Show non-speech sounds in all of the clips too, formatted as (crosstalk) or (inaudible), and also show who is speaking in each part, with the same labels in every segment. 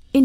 Speaker 1: verscheen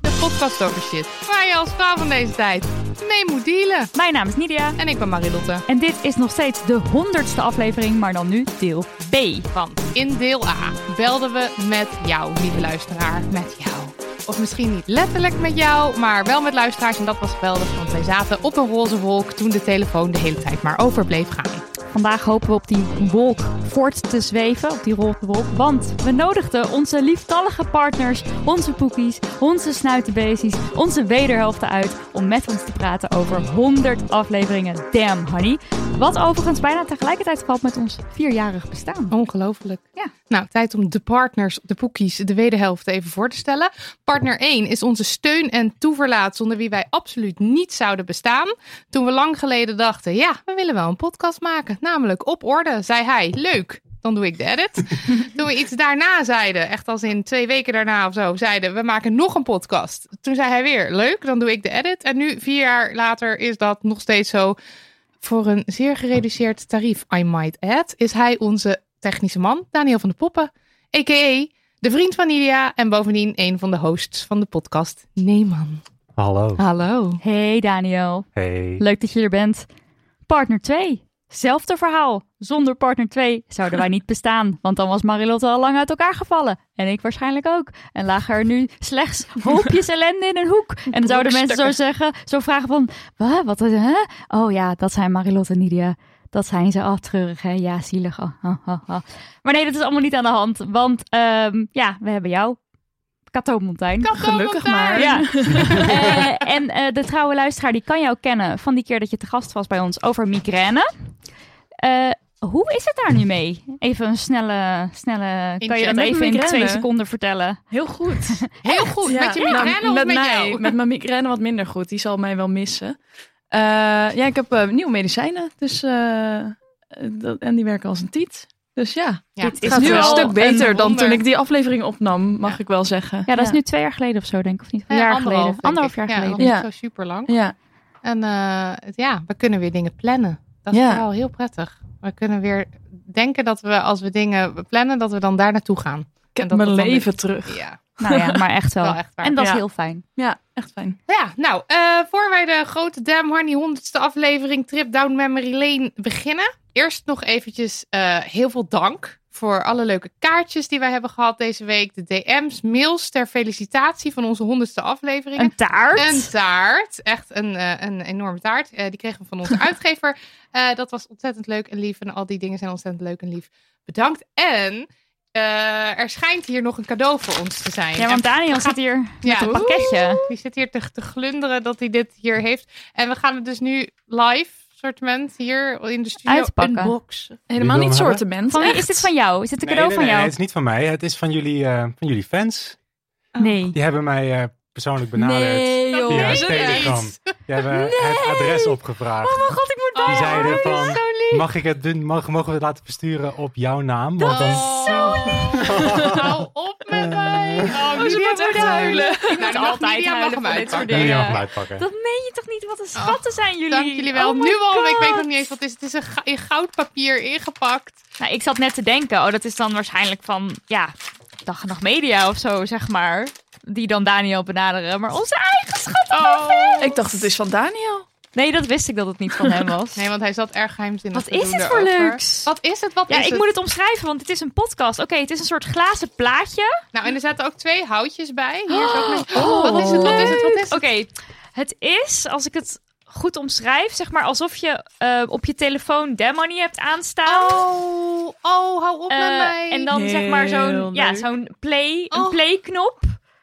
Speaker 2: De podcast over shit. Waar je als vrouw van deze tijd mee moet dealen.
Speaker 3: Mijn naam is Nidia
Speaker 2: En ik ben Marilotte.
Speaker 3: en dit is nog steeds de 100ste aflevering, maar dan nu deel B.
Speaker 2: Want in deel A belden we met jou, lieve luisteraar. Met jou. Of misschien niet letterlijk met jou, maar wel met luisteraars. En dat was geweldig, want wij zaten op een roze wolk toen de telefoon de hele tijd maar over bleef gaan.
Speaker 3: Vandaag hopen we op die wolk voort te zweven, op die roze wolk. Want we nodigden onze lieftallige partners, onze poekies, onze snuitenbezies, onze wederhelften uit om met ons te praten over 100 afleveringen Damn Honey. Wat overigens bijna tegelijkertijd valt met ons vierjarig bestaan.
Speaker 2: Ongelooflijk.
Speaker 3: Ja.
Speaker 2: Nou, tijd om de partners, de poekies, de wederhelft even voor te stellen. Partner 1 is onze steun en toeverlaat zonder wie wij absoluut niet zouden bestaan. Toen we lang geleden dachten, ja, we willen wel een podcast maken. Namelijk op orde, zei hij, leuk. Dan doe ik de edit. Toen we iets daarna zeiden, echt als in twee weken daarna of zo, zeiden we maken nog een podcast. Toen zei hij weer, leuk, dan doe ik de edit. En nu, vier jaar later, is dat nog steeds zo. Voor een zeer gereduceerd tarief, I might add, is hij onze technische man, Daniel van de Poppen, a.k.a. de vriend van Nidia en bovendien een van de hosts van de podcast Neeman.
Speaker 4: Hallo.
Speaker 2: Hallo.
Speaker 3: Hey Daniel.
Speaker 4: Hey.
Speaker 3: Oh. Leuk dat je er bent. Partner 2. Zelfde verhaal. Zonder partner 2 zouden wij niet bestaan. Want dan was Marilotte al lang uit elkaar gevallen. En ik waarschijnlijk ook. En lagen er nu slechts hoopjes ellende in een hoek. En dan zouden mensen zo zeggen, zo vragen van... "Wa, Wat? is- hè? Oh ja, dat zijn Marilotte en Nidia. Dat zijn ze aftreurig, hè? Ja, zielig. Oh, oh, oh, oh. Maar nee, dat is allemaal niet aan de hand. Want ehm, ja, we hebben jou. Kato Montijn.
Speaker 2: Gelukkig
Speaker 3: Maar ja.
Speaker 2: (laughs)
Speaker 3: Eh, en eh, de trouwe luisteraar die kan jou kennen van die keer dat je te gast was bij ons over migraine. Eh, hoe is het daar nu mee? Even een snelle, snelle. Kan je dat
Speaker 2: Met
Speaker 3: even in de
Speaker 5: migraine?
Speaker 3: twee seconden vertellen?
Speaker 5: Heel goed.
Speaker 2: Heel goed.
Speaker 5: (laughs) Ja.
Speaker 2: Met je migraine
Speaker 5: Nou,
Speaker 2: of met,
Speaker 5: mij,
Speaker 2: jou?
Speaker 5: Met mijn migraine wat minder goed. Die zal mij wel missen. Eh, ja, ik heb eh, nieuwe medicijnen. Dus, eh, dat, en die werken als een tiet. Dus ja,
Speaker 2: Ja,
Speaker 5: het gaat nu
Speaker 2: wel
Speaker 5: een stuk beter dan
Speaker 2: wonder.
Speaker 5: toen ik die aflevering opnam, mag ik wel zeggen.
Speaker 3: Ja, dat is nu twee jaar geleden of zo, denk ik. Of niet? Een
Speaker 2: Ja,
Speaker 3: jaar
Speaker 2: Eh, anderhalf,
Speaker 3: geleden.
Speaker 2: denk ik.
Speaker 3: Anderhalf jaar
Speaker 2: Ja,
Speaker 3: geleden.
Speaker 2: dat is
Speaker 5: Ja.
Speaker 2: Zo super lang.
Speaker 5: Ja,
Speaker 2: En eh, het- ja, we kunnen weer dingen plannen. Dat is
Speaker 5: Ja.
Speaker 2: wel heel prettig. We kunnen weer denken dat we als we dingen plannen, dat we dan daar naartoe gaan.
Speaker 5: ik heb
Speaker 2: dat
Speaker 5: mijn
Speaker 2: dat dan
Speaker 5: leven terug.
Speaker 2: Ja,
Speaker 3: Nou ja, maar echt wel.
Speaker 2: wel echt waar.
Speaker 3: en dat is
Speaker 5: Ja.
Speaker 3: heel fijn.
Speaker 5: Ja, echt fijn.
Speaker 2: Ja, nou, eh, voor wij de grote Dam Harney 100ste aflevering Trip Down Memory Lane beginnen. Eerst nog eventjes eh, heel veel dank voor alle leuke kaartjes die wij hebben gehad deze week. De DM's, mails ter felicitatie van onze 100ste aflevering.
Speaker 3: Een taart.
Speaker 2: Een taart. Echt een, eh, een enorme taart. Eh, die kregen we van
Speaker 3: (laughs)
Speaker 2: onze uitgever. Eh, dat was ontzettend leuk en lief. En al die dingen zijn ontzettend leuk en lief. Bedankt. En eh, er schijnt hier nog een cadeau voor ons te zijn.
Speaker 3: Ja, want Daniel zit hier
Speaker 2: Ja.
Speaker 3: met een pakketje.
Speaker 2: Die zit hier te, te glunderen dat hij dit hier heeft. En we gaan het dus nu live, sortiment, hier in de studio
Speaker 3: Uitpakken.
Speaker 2: unboxen.
Speaker 5: Helemaal
Speaker 4: wil
Speaker 5: niet
Speaker 4: hem
Speaker 5: sortiment.
Speaker 3: Van wie
Speaker 5: echt.
Speaker 3: is dit van jou? Is dit een cadeau
Speaker 4: nee,
Speaker 3: van
Speaker 4: nee, nee,
Speaker 3: jou?
Speaker 4: het is niet van mij. Het is van jullie, eh, van jullie fans.
Speaker 3: Nee.
Speaker 4: Die hebben mij eh, persoonlijk benaderd.
Speaker 2: joh.
Speaker 4: via
Speaker 2: meen je
Speaker 4: Telegram.
Speaker 2: niet.
Speaker 4: Die hebben het adres opgevraagd.
Speaker 3: Oh mijn god, ik moet
Speaker 4: Die
Speaker 3: bijna.
Speaker 4: zeiden
Speaker 2: Dat
Speaker 4: van,
Speaker 2: is zo lief.
Speaker 4: Mag ik het doen? Mag, mogen we het laten besturen op jouw naam? Want dan-
Speaker 2: zo lief. (laughs) Hou op met mij. Oh,
Speaker 5: Oh, ze
Speaker 2: Media
Speaker 5: moet echt
Speaker 2: mag
Speaker 5: huilen.
Speaker 2: Nou, dan mag
Speaker 3: altijd
Speaker 2: Media mag
Speaker 3: huilen
Speaker 2: hem
Speaker 3: voor dit soort
Speaker 2: uitpakken.
Speaker 4: Ja, die mag
Speaker 3: dingen.
Speaker 4: hem uitpakken.
Speaker 3: Dat meen je toch niet? Wat een schatten zijn jullie.
Speaker 2: Dank jullie wel.
Speaker 3: Oh my
Speaker 2: nu al, ik weet
Speaker 3: God.
Speaker 2: nog niet eens wat het is. Het is een ga- in goudpapier ingepakt.
Speaker 3: Nou, ik zat net te denken, oh, dat is dan waarschijnlijk van, ja, dag en nacht media of zo, zeg maar. Die dan Daniel benaderen, maar onze eigen schat.
Speaker 2: Oh.
Speaker 5: Ik dacht, het is van Daniel.
Speaker 3: Nee, dat wist ik dat het niet van hem (laughs) was.
Speaker 2: Nee, want hij zat erg geheimzinnig
Speaker 3: Wat
Speaker 2: te doen
Speaker 3: is het voor
Speaker 2: erover.
Speaker 3: leuks?
Speaker 2: Wat is het? Wat
Speaker 3: Ja,
Speaker 2: is
Speaker 3: ik
Speaker 2: het?
Speaker 3: moet het omschrijven, want het is een podcast. Oké, het is een soort glazen plaatje.
Speaker 2: Nou, en er zaten ook twee houtjes bij. Hier is ook
Speaker 3: Oh.
Speaker 2: met... wat is het? Wat is het? Wat is het?
Speaker 3: Oké, het is, als ik het goed omschrijf, zeg maar alsof je eh, op je telefoon Demony hebt aanstaan.
Speaker 2: Oh, oh, hou op met
Speaker 3: Eh,
Speaker 2: mij.
Speaker 3: En dan zeg maar
Speaker 5: Heel
Speaker 3: zo'n ja,
Speaker 5: leuk.
Speaker 3: zo'n play, een
Speaker 2: Oh.
Speaker 3: play-knop.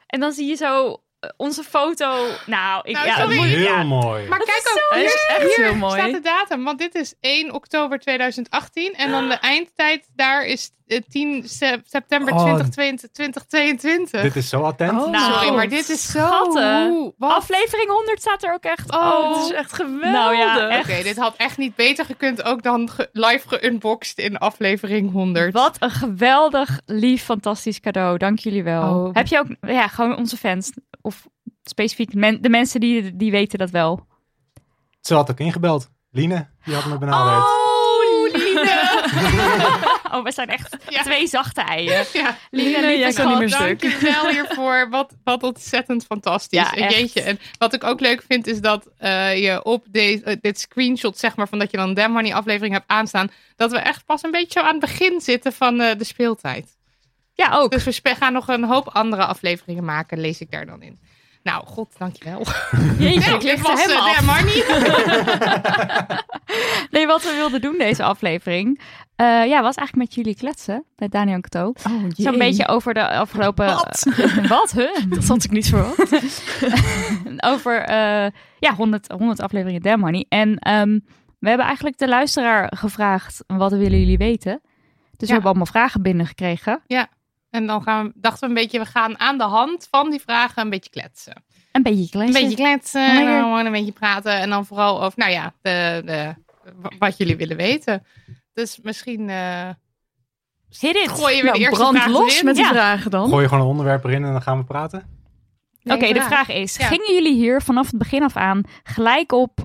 Speaker 3: En dan zie je zo eh, onze foto. Nou, ik,
Speaker 2: Nou,
Speaker 3: ja, dat
Speaker 2: sorry.
Speaker 3: moet ik-
Speaker 4: Heel
Speaker 3: ja.
Speaker 4: mooi.
Speaker 2: maar
Speaker 3: Dat
Speaker 2: kijk
Speaker 3: is
Speaker 2: ook,
Speaker 3: zo
Speaker 5: Hij
Speaker 2: hier
Speaker 5: is echt heel
Speaker 2: staat
Speaker 5: mooi.
Speaker 2: de datum. Want dit is 1 oktober 2018. En dan de
Speaker 3: Ah.
Speaker 2: eindtijd daar is eh, 10 se- september
Speaker 4: Oh.
Speaker 2: 2022. 2022.
Speaker 4: Dit is zo attent.
Speaker 5: Oh,
Speaker 3: Nou,
Speaker 2: Sorry,
Speaker 5: zo.
Speaker 2: maar dit is zo...
Speaker 3: schatten.
Speaker 2: Oeh, wat?
Speaker 3: Aflevering 100 staat er ook echt.
Speaker 5: Oh,
Speaker 3: op.
Speaker 5: het is echt geweldig.
Speaker 3: Nou ja, echt.
Speaker 2: Oké, dit had echt niet beter gekund ook dan ge- live geunboxed in aflevering 100.
Speaker 3: Wat een geweldig, lief, fantastisch cadeau. Dank jullie wel.
Speaker 2: Oh.
Speaker 3: Heb je ook, ja, gewoon onze fans. Of specifiek men- de mensen die, die weten dat wel.
Speaker 4: Ze had ook ingebeld. Line, die had me benaderd.
Speaker 3: Oh, Liene. (laughs) oh, we zijn echt
Speaker 2: (laughs) Ja.
Speaker 3: twee zachte eieren.
Speaker 2: Ja,
Speaker 3: Liene,
Speaker 5: Nee,
Speaker 3: lieve
Speaker 5: jij kan
Speaker 3: schat,
Speaker 5: niet meer
Speaker 3: dank
Speaker 5: stuk.
Speaker 2: dank je wel hiervoor. Wat, wat ontzettend fantastisch.
Speaker 3: Ja,
Speaker 2: En
Speaker 3: echt.
Speaker 2: Jeetje. En wat ik ook leuk vind is dat eh, je op deze eh, dit screenshot, zeg maar, van dat je dan de Money aflevering hebt aanstaan, dat we echt pas een beetje zo aan het begin zitten van eh, de speeltijd.
Speaker 3: Ja, ook.
Speaker 2: Dus we spe- gaan nog een hoop andere afleveringen maken, lees ik daar dan in. Nou, god, dankjewel. (laughs)
Speaker 3: Jeetje,
Speaker 2: Nou,
Speaker 3: ik liep
Speaker 2: dit
Speaker 3: ze
Speaker 2: was
Speaker 3: helemaal af.
Speaker 2: de Money.
Speaker 3: Nee, wat we wilden doen deze aflevering. eh, ja, was eigenlijk met jullie kletsen. Met Daniel en Cato.
Speaker 5: Oh, jee.
Speaker 3: Zo'n beetje over de afgelopen.
Speaker 5: Wat?
Speaker 3: (laughs) Wat, huh?
Speaker 5: (laughs) Dat had ik niet verwacht.
Speaker 3: (laughs) Over eh, ja, 100, 100 afleveringen Damn Money. En ehm, we hebben eigenlijk de luisteraar gevraagd: wat willen jullie weten? Dus we
Speaker 2: Ja.
Speaker 3: hebben allemaal vragen binnengekregen.
Speaker 2: (laughs) En dan gaan we, dachten we een beetje, we gaan aan de hand van die vragen een beetje kletsen.
Speaker 3: Een beetje kletsen.
Speaker 2: Een beetje kletsen
Speaker 3: Maar
Speaker 2: en dan
Speaker 3: je-
Speaker 2: gewoon een beetje praten. En dan vooral over, nou ja, de, de, w- wat jullie willen weten. Dus misschien eh
Speaker 3: Hit it.
Speaker 2: gooien we de
Speaker 5: Nou,
Speaker 2: eerste
Speaker 5: brand
Speaker 2: vraag
Speaker 5: los
Speaker 2: erin.
Speaker 5: met die
Speaker 3: Ja.
Speaker 5: vragen dan.
Speaker 4: Gooi je gewoon een onderwerp erin en dan gaan we praten.
Speaker 3: Oké,
Speaker 2: Nee,
Speaker 3: de vraag is:
Speaker 2: Ja.
Speaker 3: gingen jullie hier vanaf het begin af aan gelijk op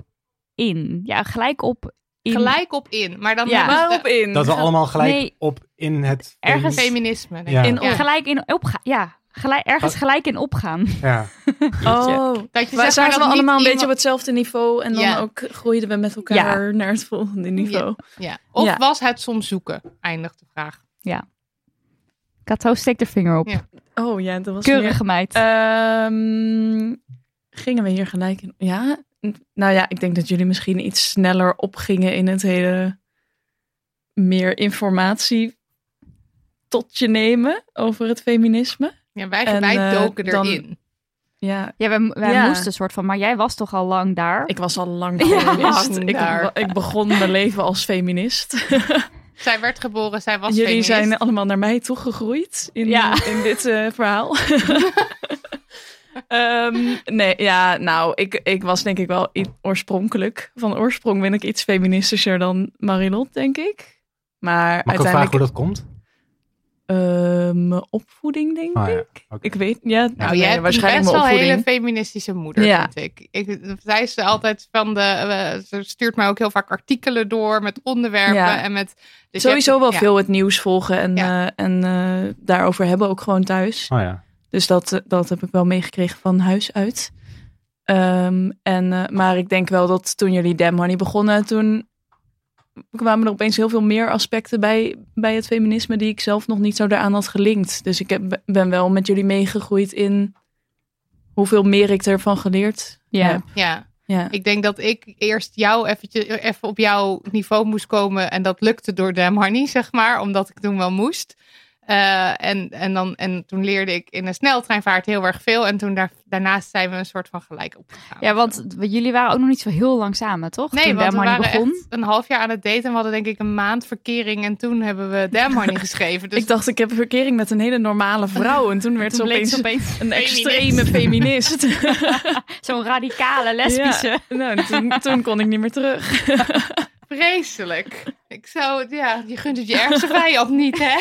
Speaker 3: in? Ja, gelijk op in.
Speaker 2: Gelijk op in. Maar dan
Speaker 3: Ja.
Speaker 2: hebben we
Speaker 5: Waarop
Speaker 2: de-
Speaker 5: in?
Speaker 4: Dat we allemaal gelijk
Speaker 3: Nee.
Speaker 4: op in het...
Speaker 3: Ergens-
Speaker 4: feminist-
Speaker 2: feminisme. denk ik.
Speaker 4: Ja.
Speaker 5: In-
Speaker 2: Ja.
Speaker 3: Gelijk in opgaan. Ja, gelijk, ergens
Speaker 4: Wat?
Speaker 3: gelijk in opgaan.
Speaker 4: ja.
Speaker 5: Oh,
Speaker 2: Dat je
Speaker 5: wij
Speaker 2: zeg maar
Speaker 5: zaten
Speaker 2: dat
Speaker 5: wel
Speaker 2: niet
Speaker 5: allemaal een beetje op
Speaker 2: iemand-
Speaker 5: hetzelfde niveau. En dan
Speaker 2: Ja.
Speaker 5: ook groeiden we met elkaar naar het volgende niveau.
Speaker 2: Ja. Of
Speaker 5: Ja.
Speaker 2: was het soms zoeken? Eindigt de vraag.
Speaker 3: Kato, steek de vinger op. Eh,
Speaker 2: Ja.
Speaker 5: Oh ja, dat was meer...
Speaker 3: Keurige meid.
Speaker 5: Ehm, gingen we hier gelijk in? Ja, n- nou ja, ik denk dat jullie misschien iets sneller opgingen in het hele meer informatie tot je nemen over het feminisme.
Speaker 2: Ja, wij,
Speaker 5: En,
Speaker 2: wij
Speaker 5: eh,
Speaker 2: doken
Speaker 5: dan-
Speaker 2: erin.
Speaker 5: Ja,
Speaker 3: Ja, wij, wij
Speaker 5: Ja.
Speaker 3: moesten een soort van, maar jij was toch al lang daar?
Speaker 5: ik was al
Speaker 2: (laughs)
Speaker 5: lang
Speaker 3: Ja,
Speaker 5: feminist.
Speaker 2: lang
Speaker 5: ik,
Speaker 2: daar.
Speaker 5: wa- ik begon mijn leven als feminist.
Speaker 2: Zij werd geboren, zij was
Speaker 5: jullie
Speaker 2: feminist.
Speaker 5: zijn allemaal naar mij toegegroeid in,
Speaker 3: Ja.
Speaker 5: in dit eh,
Speaker 2: (laughs)
Speaker 5: verhaal. Ehm, nee, ja, nou, ik, ik was denk ik wel i- oorspronkelijk. Van oorsprong ben ik iets feministischer dan Marilot, denk ik. Maar
Speaker 4: Mag ik ook vragen
Speaker 5: uiteindelijk
Speaker 4: hoe dat komt?
Speaker 5: eh, mijn opvoeding, denk
Speaker 4: Ah, ja.
Speaker 5: ik.
Speaker 4: Oké.
Speaker 5: Ik weet, ja,
Speaker 2: Nou, je
Speaker 5: nee,
Speaker 2: hebt
Speaker 5: waarschijnlijk
Speaker 2: best wel
Speaker 5: mijn
Speaker 2: een hele
Speaker 5: opvoeding.
Speaker 2: feministische moeder,
Speaker 5: Ja.
Speaker 2: vind ik. ik. Zij is altijd van de... eh, ze stuurt mij ook heel vaak artikelen door met onderwerpen
Speaker 5: Ja.
Speaker 2: en met... dus je
Speaker 5: Sowieso
Speaker 2: hebt-
Speaker 5: wel
Speaker 2: ja.
Speaker 5: veel het nieuws volgen en,
Speaker 2: Ja.
Speaker 5: eh, en eh, daarover hebben ook gewoon thuis.
Speaker 4: Oh ja.
Speaker 5: Dus dat, eh, dat heb ik wel meegekregen van huis uit. Ehm, en, eh, maar ik denk wel dat toen jullie Damn Honey begonnen, toen kwamen er opeens heel veel meer aspecten bij, bij het feminisme die ik zelf nog niet zo daaraan had gelinkt. Dus ik heb, ben wel met jullie meegegroeid in hoeveel meer ik ervan geleerd
Speaker 3: Ja.
Speaker 5: heb.
Speaker 2: Ja,
Speaker 5: Ja.
Speaker 2: ik denk dat ik eerst jou eventjes, even op jouw niveau moest komen. En dat lukte door de Honey, zeg maar. Omdat ik toen wel moest. Eh, en, en, dan, en toen leerde ik in een sneltreinvaart heel erg veel. En toen daar, daarnaast zijn we een soort van gelijk opgegaan.
Speaker 3: Ja, want we- jullie waren ook nog niet zo heel lang samen, toch?
Speaker 2: Nee,
Speaker 3: Toen
Speaker 2: want we
Speaker 3: Damn Honey
Speaker 2: waren
Speaker 3: begon.
Speaker 2: echt een half jaar aan het daten. En we hadden denk ik een maand verkering. En toen hebben we Damn Honey
Speaker 3: (laughs)
Speaker 2: geschreven. Dus
Speaker 5: Ik dacht, ik heb een verkering met een hele normale vrouw. En toen werd ze
Speaker 3: Toen bleek
Speaker 5: opeens
Speaker 3: ze opeens
Speaker 5: een extreme feminist.
Speaker 3: (laughs) zo'n radicale lesbische.
Speaker 5: Ja. Nou, en toen, toen kon ik niet meer terug.
Speaker 2: Vreselijk. Ik zou, het- ja, je gunt het je
Speaker 3: (laughs)
Speaker 2: ergste vijand niet, hè?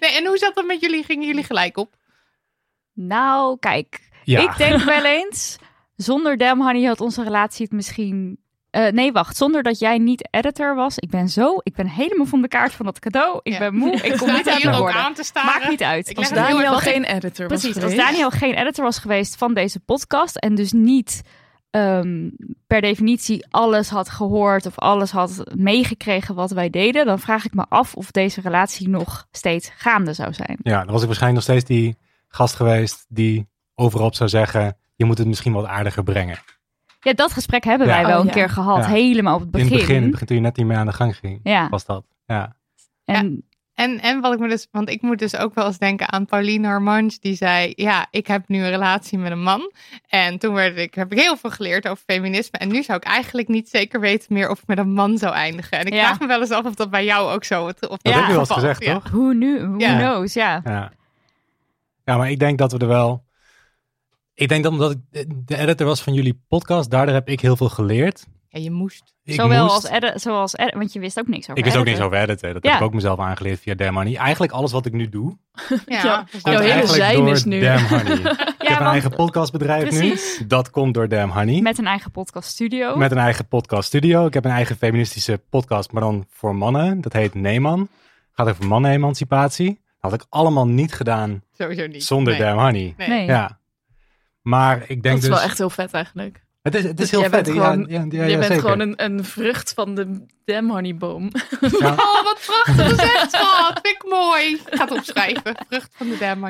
Speaker 2: nee, en hoe zat dat met jullie? Gingen jullie gelijk op?
Speaker 3: Nou, kijk.
Speaker 4: Ja.
Speaker 3: Ik
Speaker 4: (laughs)
Speaker 3: denk wel eens, zonder Dem Honey had onze relatie het misschien... eh, nee, wacht. Zonder dat jij niet editor was. Ik ben zo... Ik ben helemaal van de kaart van dat cadeau. Ik
Speaker 2: Ja.
Speaker 3: ben moe. Ik kom
Speaker 2: Zaten (laughs)
Speaker 3: niet uit
Speaker 2: jullie
Speaker 3: mijn
Speaker 2: ook
Speaker 3: woorden.
Speaker 2: aan te staren.
Speaker 3: Maakt niet uit.
Speaker 2: Ik
Speaker 5: Als
Speaker 2: leg het heel erg
Speaker 5: Daniel
Speaker 2: wat ik-
Speaker 5: geen editor was
Speaker 3: Precies, als
Speaker 5: geweest.
Speaker 3: Daniel geen editor was geweest van deze podcast en dus niet ehm, per definitie alles had gehoord of alles had meegekregen wat wij deden, dan vraag ik me af of deze relatie nog steeds gaande zou zijn.
Speaker 4: Ja, dan was ik waarschijnlijk nog steeds die gast geweest die overal op zou zeggen, je moet het misschien wat aardiger brengen.
Speaker 3: Ja, dat gesprek hebben
Speaker 4: Ja.
Speaker 3: wij wel
Speaker 5: Oh,
Speaker 3: een
Speaker 5: ja.
Speaker 3: keer gehad,
Speaker 4: Ja.
Speaker 3: helemaal op het begin.
Speaker 4: In het begin, in het begin toen je net niet meer aan de gang ging,
Speaker 3: Ja,
Speaker 4: was dat. Ja.
Speaker 3: en
Speaker 2: En, en wat ik me dus, want ik moet dus ook wel eens denken aan Pauline Harmange, die zei: Ja, ik heb nu een relatie met een man. En toen werd ik, heb ik heel veel geleerd over feminisme. En nu zou ik eigenlijk niet zeker weten meer of ik met een man zou eindigen. En ik
Speaker 3: Ja.
Speaker 2: vraag me wel eens af of dat bij jou ook zo of dat
Speaker 4: Dat heb je wel eens
Speaker 2: geval is.
Speaker 4: gezegd,
Speaker 2: Ja.
Speaker 4: toch?
Speaker 3: hoe nu, who
Speaker 2: Ja.
Speaker 3: knows, ja.
Speaker 4: Ja. ja, maar ik denk dat we er wel... Ik denk dat omdat ik de editor was van jullie podcast, daardoor heb ik heel veel geleerd.
Speaker 2: Ja, je moest.
Speaker 4: Ik
Speaker 3: Zowel
Speaker 4: moest-
Speaker 3: als edit, zoals edit, want je wist ook niks over
Speaker 4: Ik wist ook niks
Speaker 3: editen.
Speaker 4: over editen. Dat
Speaker 3: Ja.
Speaker 4: heb ik ook mezelf aangeleerd via Damn Honey. Eigenlijk alles wat ik nu doe,
Speaker 2: Ja,
Speaker 5: Ja,
Speaker 2: dus
Speaker 5: Jouw
Speaker 4: komt
Speaker 2: dat-
Speaker 5: hele
Speaker 4: eigenlijk
Speaker 5: zijn
Speaker 4: door
Speaker 5: is nu-
Speaker 4: Damn Honey. ik heb een
Speaker 3: want-
Speaker 4: eigen podcastbedrijf
Speaker 3: Precies.
Speaker 4: nu. Dat komt door Damn Honey.
Speaker 3: Met een eigen
Speaker 5: Oh.
Speaker 3: podcaststudio.
Speaker 4: Met een eigen podcaststudio. Ik heb een eigen feministische podcast, maar dan voor mannen. Dat heet Neeman. Gaat over mannenemancipatie. Dat had ik allemaal niet gedaan
Speaker 2: sowieso niet.
Speaker 4: zonder
Speaker 2: Nee.
Speaker 4: Damn Honey.
Speaker 2: Nee.
Speaker 3: Nee.
Speaker 4: Ja. Maar ik
Speaker 5: Dat
Speaker 4: denk
Speaker 5: is
Speaker 4: dus...
Speaker 5: wel echt heel vet eigenlijk.
Speaker 4: Het is, het
Speaker 5: Dus
Speaker 4: is heel
Speaker 5: jij
Speaker 4: vet.
Speaker 5: bent
Speaker 4: Ja,
Speaker 5: gewoon-
Speaker 4: ja, ja,
Speaker 5: je
Speaker 4: ja,
Speaker 5: bent
Speaker 4: zeker.
Speaker 5: gewoon een, een vrucht van de Dem honeyboom.
Speaker 4: Ja.
Speaker 2: (laughs) Oh, wat prachtig gezegd, wat. Vind ik mooi. Ik ga het opschrijven. Vrucht van de dam,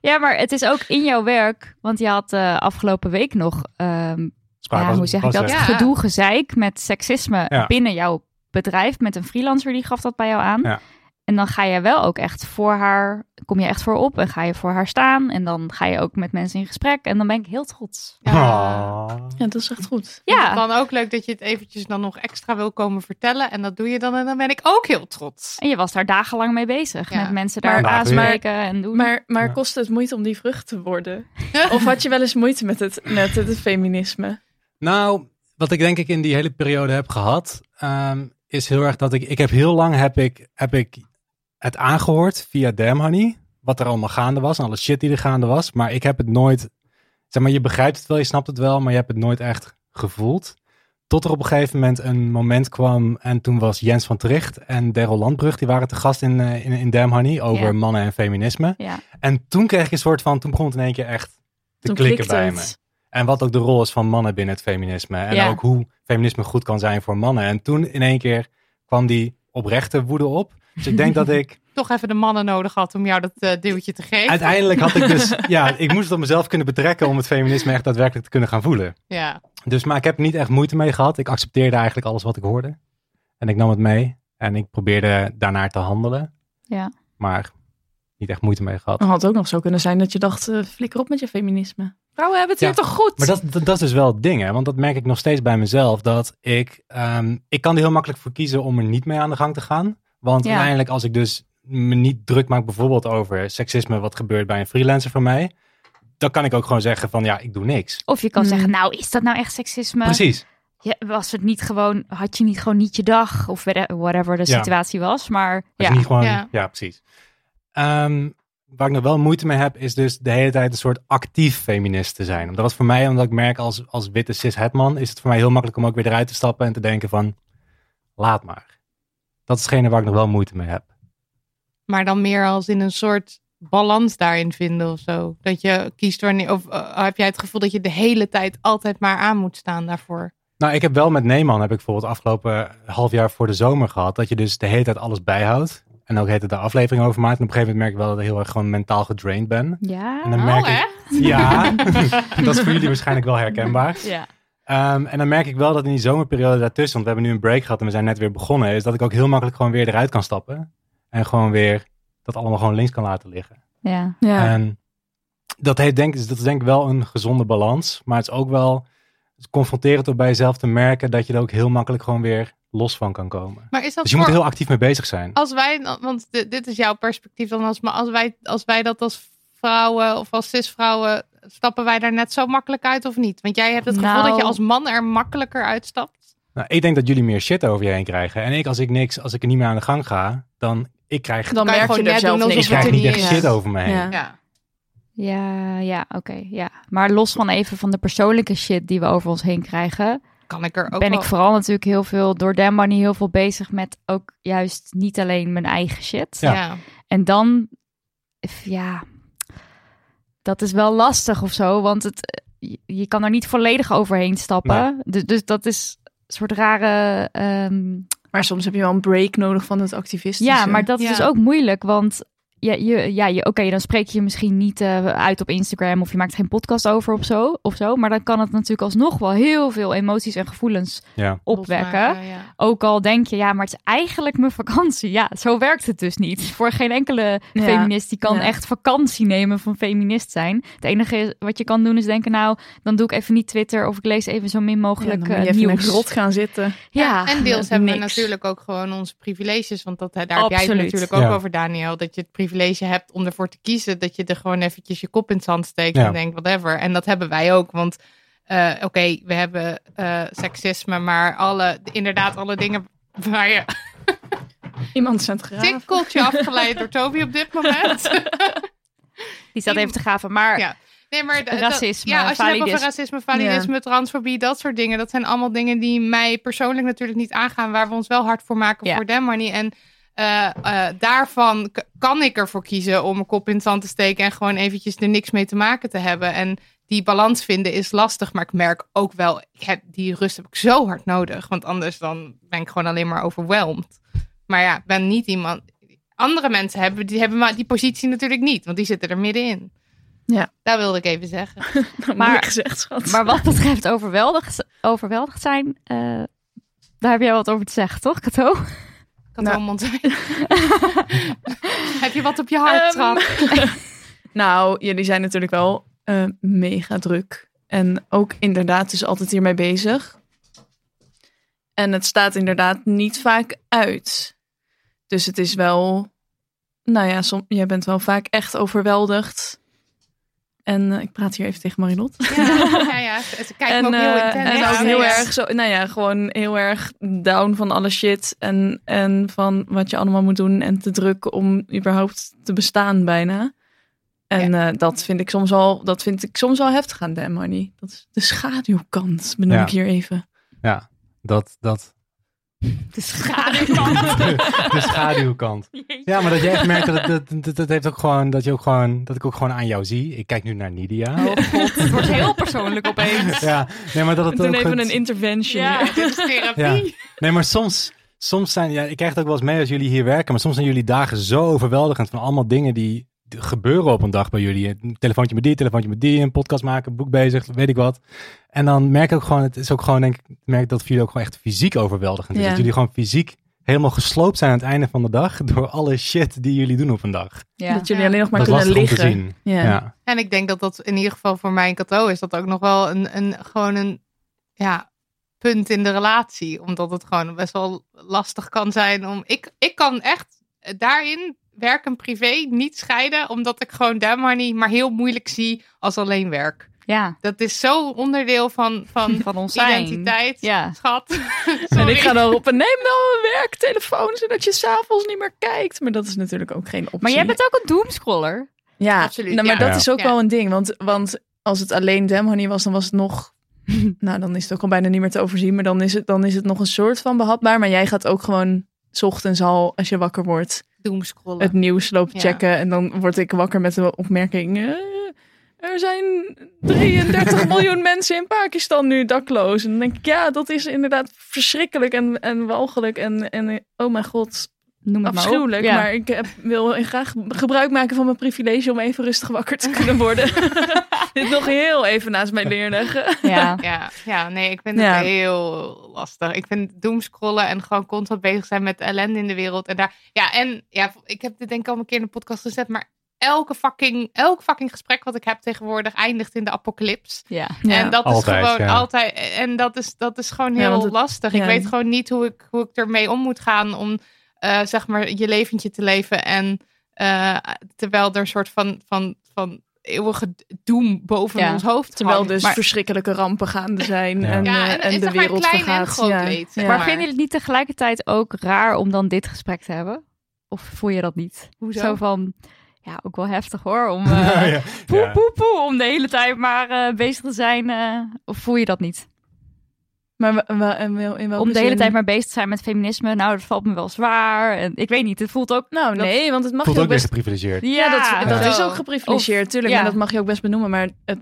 Speaker 3: Ja, maar het is ook in jouw werk. Want je had eh, afgelopen week nog, ehm,
Speaker 4: Spaar
Speaker 3: ja,
Speaker 4: Ah, was-
Speaker 3: hoe zeg ik
Speaker 4: was
Speaker 3: dat,
Speaker 4: weg.
Speaker 2: Ja.
Speaker 3: gedoe gezeik met seksisme
Speaker 4: Ja.
Speaker 3: binnen jouw bedrijf. Met een freelancer die gaf dat bij jou aan.
Speaker 4: Ja.
Speaker 3: En dan ga je wel ook echt voor haar, kom je echt voor op en ga je voor haar staan. En dan ga je ook met mensen in gesprek. En dan ben ik heel trots.
Speaker 4: (laughs) Oh.
Speaker 5: (laughs) Ja, dat is echt goed.
Speaker 3: Ja,
Speaker 2: Dan ook leuk dat je het eventjes dan nog extra wil komen vertellen. En dat doe je dan. En dan ben ik ook heel trots.
Speaker 3: en je was daar dagenlang mee bezig.
Speaker 2: Ja.
Speaker 3: Met mensen
Speaker 5: Maar-
Speaker 3: daar
Speaker 4: Nou,
Speaker 3: aanspreken en doen.
Speaker 5: Maar, maar
Speaker 4: Ja.
Speaker 5: kostte het moeite om die vrucht te worden? (laughs) of had je wel eens moeite met het, met het feminisme?
Speaker 4: Nou, wat ik denk ik in die hele periode heb gehad, ehm, is heel erg dat ik, ik heb heel lang heb ik, heb ik het aangehoord via Damn Honey, wat er allemaal gaande was en alle shit die er gaande was, maar ik heb het nooit, zeg maar, je begrijpt het wel, je snapt het wel, maar je hebt het nooit echt gevoeld. Tot er op een gegeven moment een moment kwam en toen was Jens van Tricht en Daryl Landbrug, die waren te gast in, eh, in, in Damn Honey over
Speaker 3: Ja.
Speaker 4: mannen en feminisme.
Speaker 3: Ja.
Speaker 4: En toen kreeg ik een soort van, toen begon het in één keer echt te
Speaker 5: Toen
Speaker 4: klikken
Speaker 5: klikte
Speaker 4: bij
Speaker 5: het.
Speaker 4: me. En wat ook de rol is van mannen binnen het feminisme. En
Speaker 3: Ja.
Speaker 4: ook hoe feminisme goed kan zijn voor mannen. En toen in één keer kwam die oprechte woede op. Dus ik denk dat
Speaker 3: (laughs)
Speaker 4: ik...
Speaker 2: toch even de mannen nodig had om jou dat eh, duwtje te geven.
Speaker 4: Uiteindelijk had ik dus...
Speaker 3: (laughs)
Speaker 4: Ja, ik moest het op mezelf kunnen betrekken om het feminisme echt daadwerkelijk te kunnen gaan voelen.
Speaker 2: Ja.
Speaker 4: Dus, maar ik heb er niet echt moeite mee gehad. Ik accepteerde eigenlijk alles wat ik hoorde. En ik nam het mee. En ik probeerde daarnaar te handelen.
Speaker 3: Ja.
Speaker 4: Maar niet echt moeite mee gehad.
Speaker 5: Het had ook nog zo kunnen zijn dat je dacht, eh, flikker op met je feminisme. Vrouwen hebben het
Speaker 4: Ja,
Speaker 5: hier toch goed?
Speaker 4: Maar dat, dat, dat is dus wel het ding, hè? Want dat merk ik nog steeds bij mezelf. Dat ik, ehm, ik kan er heel makkelijk voor kiezen om er niet mee aan de gang te gaan. Want
Speaker 3: Ja.
Speaker 4: uiteindelijk, als ik dus me niet druk maak, bijvoorbeeld over seksisme, wat gebeurt bij een freelancer van mij, dan kan ik ook gewoon zeggen: van ja, ik doe niks.
Speaker 3: Of je kan
Speaker 5: Mm.
Speaker 3: zeggen, nou is dat nou echt seksisme?
Speaker 4: Precies.
Speaker 3: Ja, was het niet gewoon, had je niet gewoon niet je dag of whate- whatever de
Speaker 4: Ja.
Speaker 3: situatie was, maar
Speaker 4: Als
Speaker 3: ja.
Speaker 4: je niet gewoon,
Speaker 2: Ja.
Speaker 4: ja. precies. Ehm, waar ik nog wel moeite mee heb, is dus de hele tijd een soort actief feminist te zijn. Omdat het voor mij, omdat ik merk als, als witte cis-hetman, is het voor mij heel makkelijk om ook weer eruit te stappen en te denken van, laat maar. Dat is hetgene waar ik nog wel moeite mee heb.
Speaker 2: Maar dan meer als in een soort balans daarin vinden of zo. Dat je kiest wanneer. Of eh, heb jij het gevoel dat je de hele tijd altijd maar aan moet staan daarvoor?
Speaker 4: Nou, ik heb wel met Neeman, heb ik bijvoorbeeld afgelopen half jaar voor de zomer gehad, dat je dus de hele tijd alles bijhoudt. En ook de hele tijd de aflevering over maakt. En op een gegeven moment merk ik wel dat ik heel erg gewoon mentaal gedraind ben. En
Speaker 3: Ja.
Speaker 2: Oh,
Speaker 4: dan merk ik, ja, (laughs) dat is voor jullie waarschijnlijk wel herkenbaar.
Speaker 3: Ja.
Speaker 4: Ehm, en dan merk ik wel dat in die zomerperiode daartussen, want we hebben nu een break gehad en we zijn net weer begonnen, is dat ik ook heel makkelijk gewoon weer eruit kan stappen. En gewoon weer dat allemaal gewoon links kan laten liggen.
Speaker 3: Ja.
Speaker 5: ja.
Speaker 4: En dat, heeft denk, dat is denk ik wel een gezonde balans. Maar het is ook wel confronterend om bij jezelf te merken dat je er ook heel makkelijk gewoon weer los van kan komen.
Speaker 2: Maar is dat
Speaker 4: Dus je moet er
Speaker 2: voor-
Speaker 4: heel actief mee bezig zijn.
Speaker 2: als wij, want di- dit is jouw perspectief dan als, maar als wij, als wij dat als vrouwen of als cisvrouwen, stappen wij daar net zo makkelijk uit of niet? Want jij hebt het gevoel
Speaker 3: Nou.
Speaker 2: dat je als man er makkelijker uitstapt.
Speaker 4: Nou, ik denk dat jullie meer shit over je heen krijgen. En ik, als ik niks, als ik er niet meer aan de gang ga, dan ik krijg,
Speaker 5: Dan
Speaker 2: Kan je
Speaker 5: merk je
Speaker 2: gewoon
Speaker 5: er
Speaker 2: net
Speaker 5: zelf
Speaker 2: doen
Speaker 4: ik
Speaker 5: niks
Speaker 2: alsof
Speaker 5: van.
Speaker 4: krijg
Speaker 2: het
Speaker 4: niet
Speaker 2: niet
Speaker 4: echt
Speaker 2: is.
Speaker 4: shit over me heen.
Speaker 5: Ja.
Speaker 2: Ja.
Speaker 3: Ja, ja, oké. ja. Maar los van even van de persoonlijke shit die we over ons heen krijgen,
Speaker 2: Kan ik er ook
Speaker 3: ben
Speaker 2: wel-
Speaker 3: ik vooral natuurlijk heel veel door Dan Money heel veel bezig met ook juist niet alleen mijn eigen shit.
Speaker 4: Ja.
Speaker 2: Ja.
Speaker 3: En dan, f- ja, dat is wel lastig of zo, want het, eh, je- je kan er niet volledig overheen stappen. Dus, dus dat is een soort rare. ehm,
Speaker 5: Maar soms heb je wel een break nodig van het activistische.
Speaker 3: ja, maar dat is
Speaker 2: Ja.
Speaker 3: dus ook moeilijk, want ja, je, ja, je, oké, dan spreek je misschien niet eh, uit op Instagram of je maakt geen podcast over of zo, of zo, maar dan kan het natuurlijk alsnog wel heel veel emoties en gevoelens
Speaker 4: Ja.
Speaker 3: opwekken.
Speaker 2: Losmaken, ja.
Speaker 3: Ook al denk je, ja, maar het is eigenlijk mijn vakantie. Ja, zo werkt het dus niet. Voor geen enkele
Speaker 5: Ja,
Speaker 3: feminist die kan
Speaker 5: ja.
Speaker 3: echt vakantie nemen van feminist zijn. Het enige is- wat je kan doen is denken, nou, dan doe ik even niet Twitter of ik lees even zo min
Speaker 5: Ja, dan
Speaker 3: mogelijk
Speaker 5: moet je
Speaker 3: eh,
Speaker 5: even in een
Speaker 3: nieuws.
Speaker 5: grot gaan zitten.
Speaker 3: Ja,
Speaker 2: en deels hebben we
Speaker 3: niks.
Speaker 2: natuurlijk ook gewoon onze privileges. Want dat, daar heb jij
Speaker 3: Absoluut.
Speaker 2: het natuurlijk ook
Speaker 4: Ja.
Speaker 2: over, Daniel. Dat je het privilege hebt om ervoor te kiezen. Dat je er gewoon eventjes je kop in het zand steekt
Speaker 4: Ja.
Speaker 2: en denkt, whatever. En dat hebben wij ook. Want eh, oké, we hebben eh, seksisme, maar alle, inderdaad alle dingen waar je
Speaker 5: Iemand is aan
Speaker 2: (laughs)
Speaker 5: het graven.
Speaker 2: tikkeltje afgeleid door Toby op dit moment.
Speaker 3: (laughs) Die staat even te gaven, maar
Speaker 2: Ja. Nee, maar d- dat-
Speaker 3: Racisme,
Speaker 2: ja, als je het hebt
Speaker 3: validisme.
Speaker 2: over racisme, validisme, transfobie, dat soort dingen. Dat zijn allemaal dingen die mij persoonlijk natuurlijk niet aangaan. Waar we ons wel hard voor maken
Speaker 3: Ja.
Speaker 2: voor Dem Money. En eh, eh, daarvan k- kan ik ervoor kiezen om mijn kop in het zand te steken. En gewoon eventjes er niks mee te maken te hebben. En die balans vinden is lastig. Maar ik merk ook wel, ik heb- die rust heb ik zo hard nodig. Want anders dan ben ik gewoon alleen maar overweldigd. Maar ja, ik ben niet iemand... Andere mensen hebben, die hebben maar die positie natuurlijk niet. Want die zitten er middenin.
Speaker 5: Ja.
Speaker 2: Dat wilde ik even zeggen.
Speaker 5: Nou,
Speaker 3: Maar-
Speaker 5: moeilijk gezegd, schat.
Speaker 3: Maar wat betreft overweldigd, overweldigd zijn, eh, daar heb jij wat over te zeggen, toch, Kato?
Speaker 2: Ik had
Speaker 5: Nou.
Speaker 2: wel mond. (laughs) Heb je wat op je hart,
Speaker 5: Ehm, (laughs)
Speaker 2: trap?
Speaker 5: Nou, jullie zijn natuurlijk wel eh, mega druk. En ook inderdaad dus altijd hiermee bezig. En het staat inderdaad niet vaak uit. Dus het is wel... Nou ja, som, jij bent wel vaak echt overweldigd. En eh, ik praat hier even tegen Marilot.
Speaker 2: Ja, ja, ja. Ze kijken me ook heel
Speaker 5: eh,
Speaker 2: intens
Speaker 5: en
Speaker 2: aan.
Speaker 5: ook heel
Speaker 2: Ja.
Speaker 5: erg zo, nou ja, gewoon heel erg down van alle shit. En, en van wat je allemaal moet doen en te druk om überhaupt te bestaan bijna. En eh, dat vind ik soms al, dat vind ik soms al heftig aan Damn Money. Dat is de schaduwkant, benoem
Speaker 4: Ja.
Speaker 5: ik hier even.
Speaker 4: Ja, dat,
Speaker 5: (laughs)
Speaker 4: dat.
Speaker 3: De schaduwkant.
Speaker 4: (laughs) De schaduwkant. Ja, maar dat je echt merkt dat, het- dat, dat, dat heeft ook gewoon, dat je ook gewoon, dat ik ook gewoon aan jou zie. Ik kijk nu naar Nidia.
Speaker 5: Oh.
Speaker 3: Het wordt heel persoonlijk
Speaker 5: (laughs)
Speaker 3: opeens.
Speaker 4: (laughs) Ja, nee, maar dat het
Speaker 5: Toen
Speaker 4: ook
Speaker 5: even
Speaker 4: het-
Speaker 5: een intervention.
Speaker 3: Ja.
Speaker 5: Ja.
Speaker 2: Ja, dit is therapie.
Speaker 4: Ja. Nee, maar soms, soms zijn, ja, ik krijg het ook wel eens mee als jullie hier werken, maar soms zijn jullie dagen zo overweldigend van allemaal dingen die d- gebeuren op een dag bij jullie. Een telefoontje met die, telefoontje met die, een podcast maken, een boek bezig, weet ik wat. En dan merk ik ook gewoon, het is ook gewoon, denk ik, ik merk dat het voor jullie ook gewoon echt fysiek overweldigend is.
Speaker 5: Ja.
Speaker 4: Dat jullie gewoon fysiek helemaal gesloopt zijn aan het einde van de dag door alle shit die jullie doen op een dag.
Speaker 3: Ja.
Speaker 5: Dat jullie
Speaker 2: Ja.
Speaker 5: alleen nog maar
Speaker 4: dat is
Speaker 5: kunnen
Speaker 4: lastig om te
Speaker 5: liggen.
Speaker 4: zien. Ja. Ja.
Speaker 2: En ik denk dat dat in ieder geval voor mij en Kato is dat ook nog wel een, een gewoon een ja, punt in de relatie. Omdat het gewoon best wel lastig kan zijn om. Ik, ik kan echt eh, daarin werk en privé niet scheiden. Omdat ik gewoon daar maar niet, maar heel moeilijk zie als alleen werk.
Speaker 3: Ja,
Speaker 2: Dat is zo onderdeel van, van
Speaker 3: van ons zijn.
Speaker 2: identiteit.
Speaker 3: Ja.
Speaker 2: Schat.
Speaker 5: (laughs) En
Speaker 2: Sorry.
Speaker 5: ik ga dan roepen, neem dan een werktelefoon, zodat je s'avonds niet meer kijkt. Maar dat is natuurlijk ook geen optie.
Speaker 3: Maar jij bent ook een doomscroller.
Speaker 5: Ja,
Speaker 2: Absoluut,
Speaker 5: Nou, maar
Speaker 2: ja.
Speaker 5: dat
Speaker 4: Ja.
Speaker 5: is ook
Speaker 2: Ja.
Speaker 5: wel een ding. Want, want als het alleen Demhoney was, dan was het
Speaker 2: (laughs)
Speaker 5: nog. nou, dan is het ook al bijna niet meer te overzien. Maar dan is het, dan is het nog een soort van behapbaar. Maar jij gaat ook gewoon. 's ochtends al, als je wakker wordt,
Speaker 2: Doomscrollen.
Speaker 5: het nieuws loopt
Speaker 2: Ja.
Speaker 5: checken. En dan word ik wakker met de opmerking. eh, er zijn 33
Speaker 2: (laughs)
Speaker 5: miljoen mensen in Pakistan nu dakloos. En dan denk ik, ja, dat is inderdaad verschrikkelijk en, en walgelijk. En, en eh, oh mijn god,
Speaker 3: Noem het
Speaker 5: Afschuwelijk,
Speaker 3: maar op. Ja.
Speaker 5: maar ik heb, wil graag gebruik maken van mijn privilege om even rustig wakker te kunnen
Speaker 3: (laughs)
Speaker 5: worden. Dit nog heel even naast mijn neerleggen.
Speaker 3: Ja.
Speaker 2: Ja, ja, nee, ik vind
Speaker 5: Ja.
Speaker 2: het heel lastig. Ik vind doomscrollen en gewoon constant bezig zijn met de ellende in de wereld. En daar, ja, en ja, ik heb dit denk ik al een keer in de podcast gezet, maar elke fucking, elk fucking gesprek wat ik heb tegenwoordig eindigt in de apocalyps.
Speaker 3: Ja.
Speaker 2: En dat
Speaker 4: Altijd,
Speaker 2: is gewoon
Speaker 4: ja.
Speaker 2: altijd, en dat is, dat is gewoon
Speaker 5: Ja,
Speaker 2: heel
Speaker 5: want het-
Speaker 2: lastig.
Speaker 5: ja.
Speaker 2: Ik weet gewoon niet hoe ik, hoe ik ermee om moet gaan om, eh, zeg maar, je leventje te leven en eh, terwijl er een soort van, van, van eeuwige doem boven
Speaker 3: Ja,
Speaker 2: ons hoofd
Speaker 5: Terwijl
Speaker 2: hangt.
Speaker 5: dus
Speaker 3: maar-
Speaker 5: verschrikkelijke rampen gaande zijn.
Speaker 4: Ja.
Speaker 5: En,
Speaker 2: Ja,
Speaker 5: eh,
Speaker 2: en-
Speaker 5: en
Speaker 2: en
Speaker 5: de
Speaker 2: zeg maar
Speaker 5: wereld
Speaker 2: klein en
Speaker 5: vergaat.
Speaker 2: groot
Speaker 5: ja.
Speaker 2: leed,
Speaker 5: Ja.
Speaker 2: zeg
Speaker 3: Maar
Speaker 2: maar.
Speaker 3: vinden jullie het niet tegelijkertijd ook raar om dan dit gesprek te hebben? Of voel je dat niet?
Speaker 2: Hoezo?
Speaker 3: Zo van, ja, ook wel heftig hoor, (laughs) om eh,
Speaker 4: (laughs) ja.
Speaker 3: poe,
Speaker 4: Ja.
Speaker 3: poe, poe, om de hele tijd maar eh, bezig te zijn. eh, of voel je dat niet?
Speaker 5: Maar wa- wa- en wel- in welke
Speaker 3: Om de hele
Speaker 5: zin?
Speaker 3: tijd maar bezig te zijn met feminisme, nou, dat valt me wel zwaar. En ik weet niet, het voelt ook...
Speaker 5: Nou,
Speaker 3: dat-
Speaker 5: nee, want het mag
Speaker 4: Voelt
Speaker 5: je
Speaker 4: ook
Speaker 5: ook
Speaker 4: weer
Speaker 5: best...
Speaker 4: geprivilegeerd.
Speaker 5: Ja, dat, dat
Speaker 2: Zo.
Speaker 5: is ook geprivilegeerd, tuurlijk.
Speaker 3: ja.
Speaker 5: En dat mag je ook best benoemen. Maar het,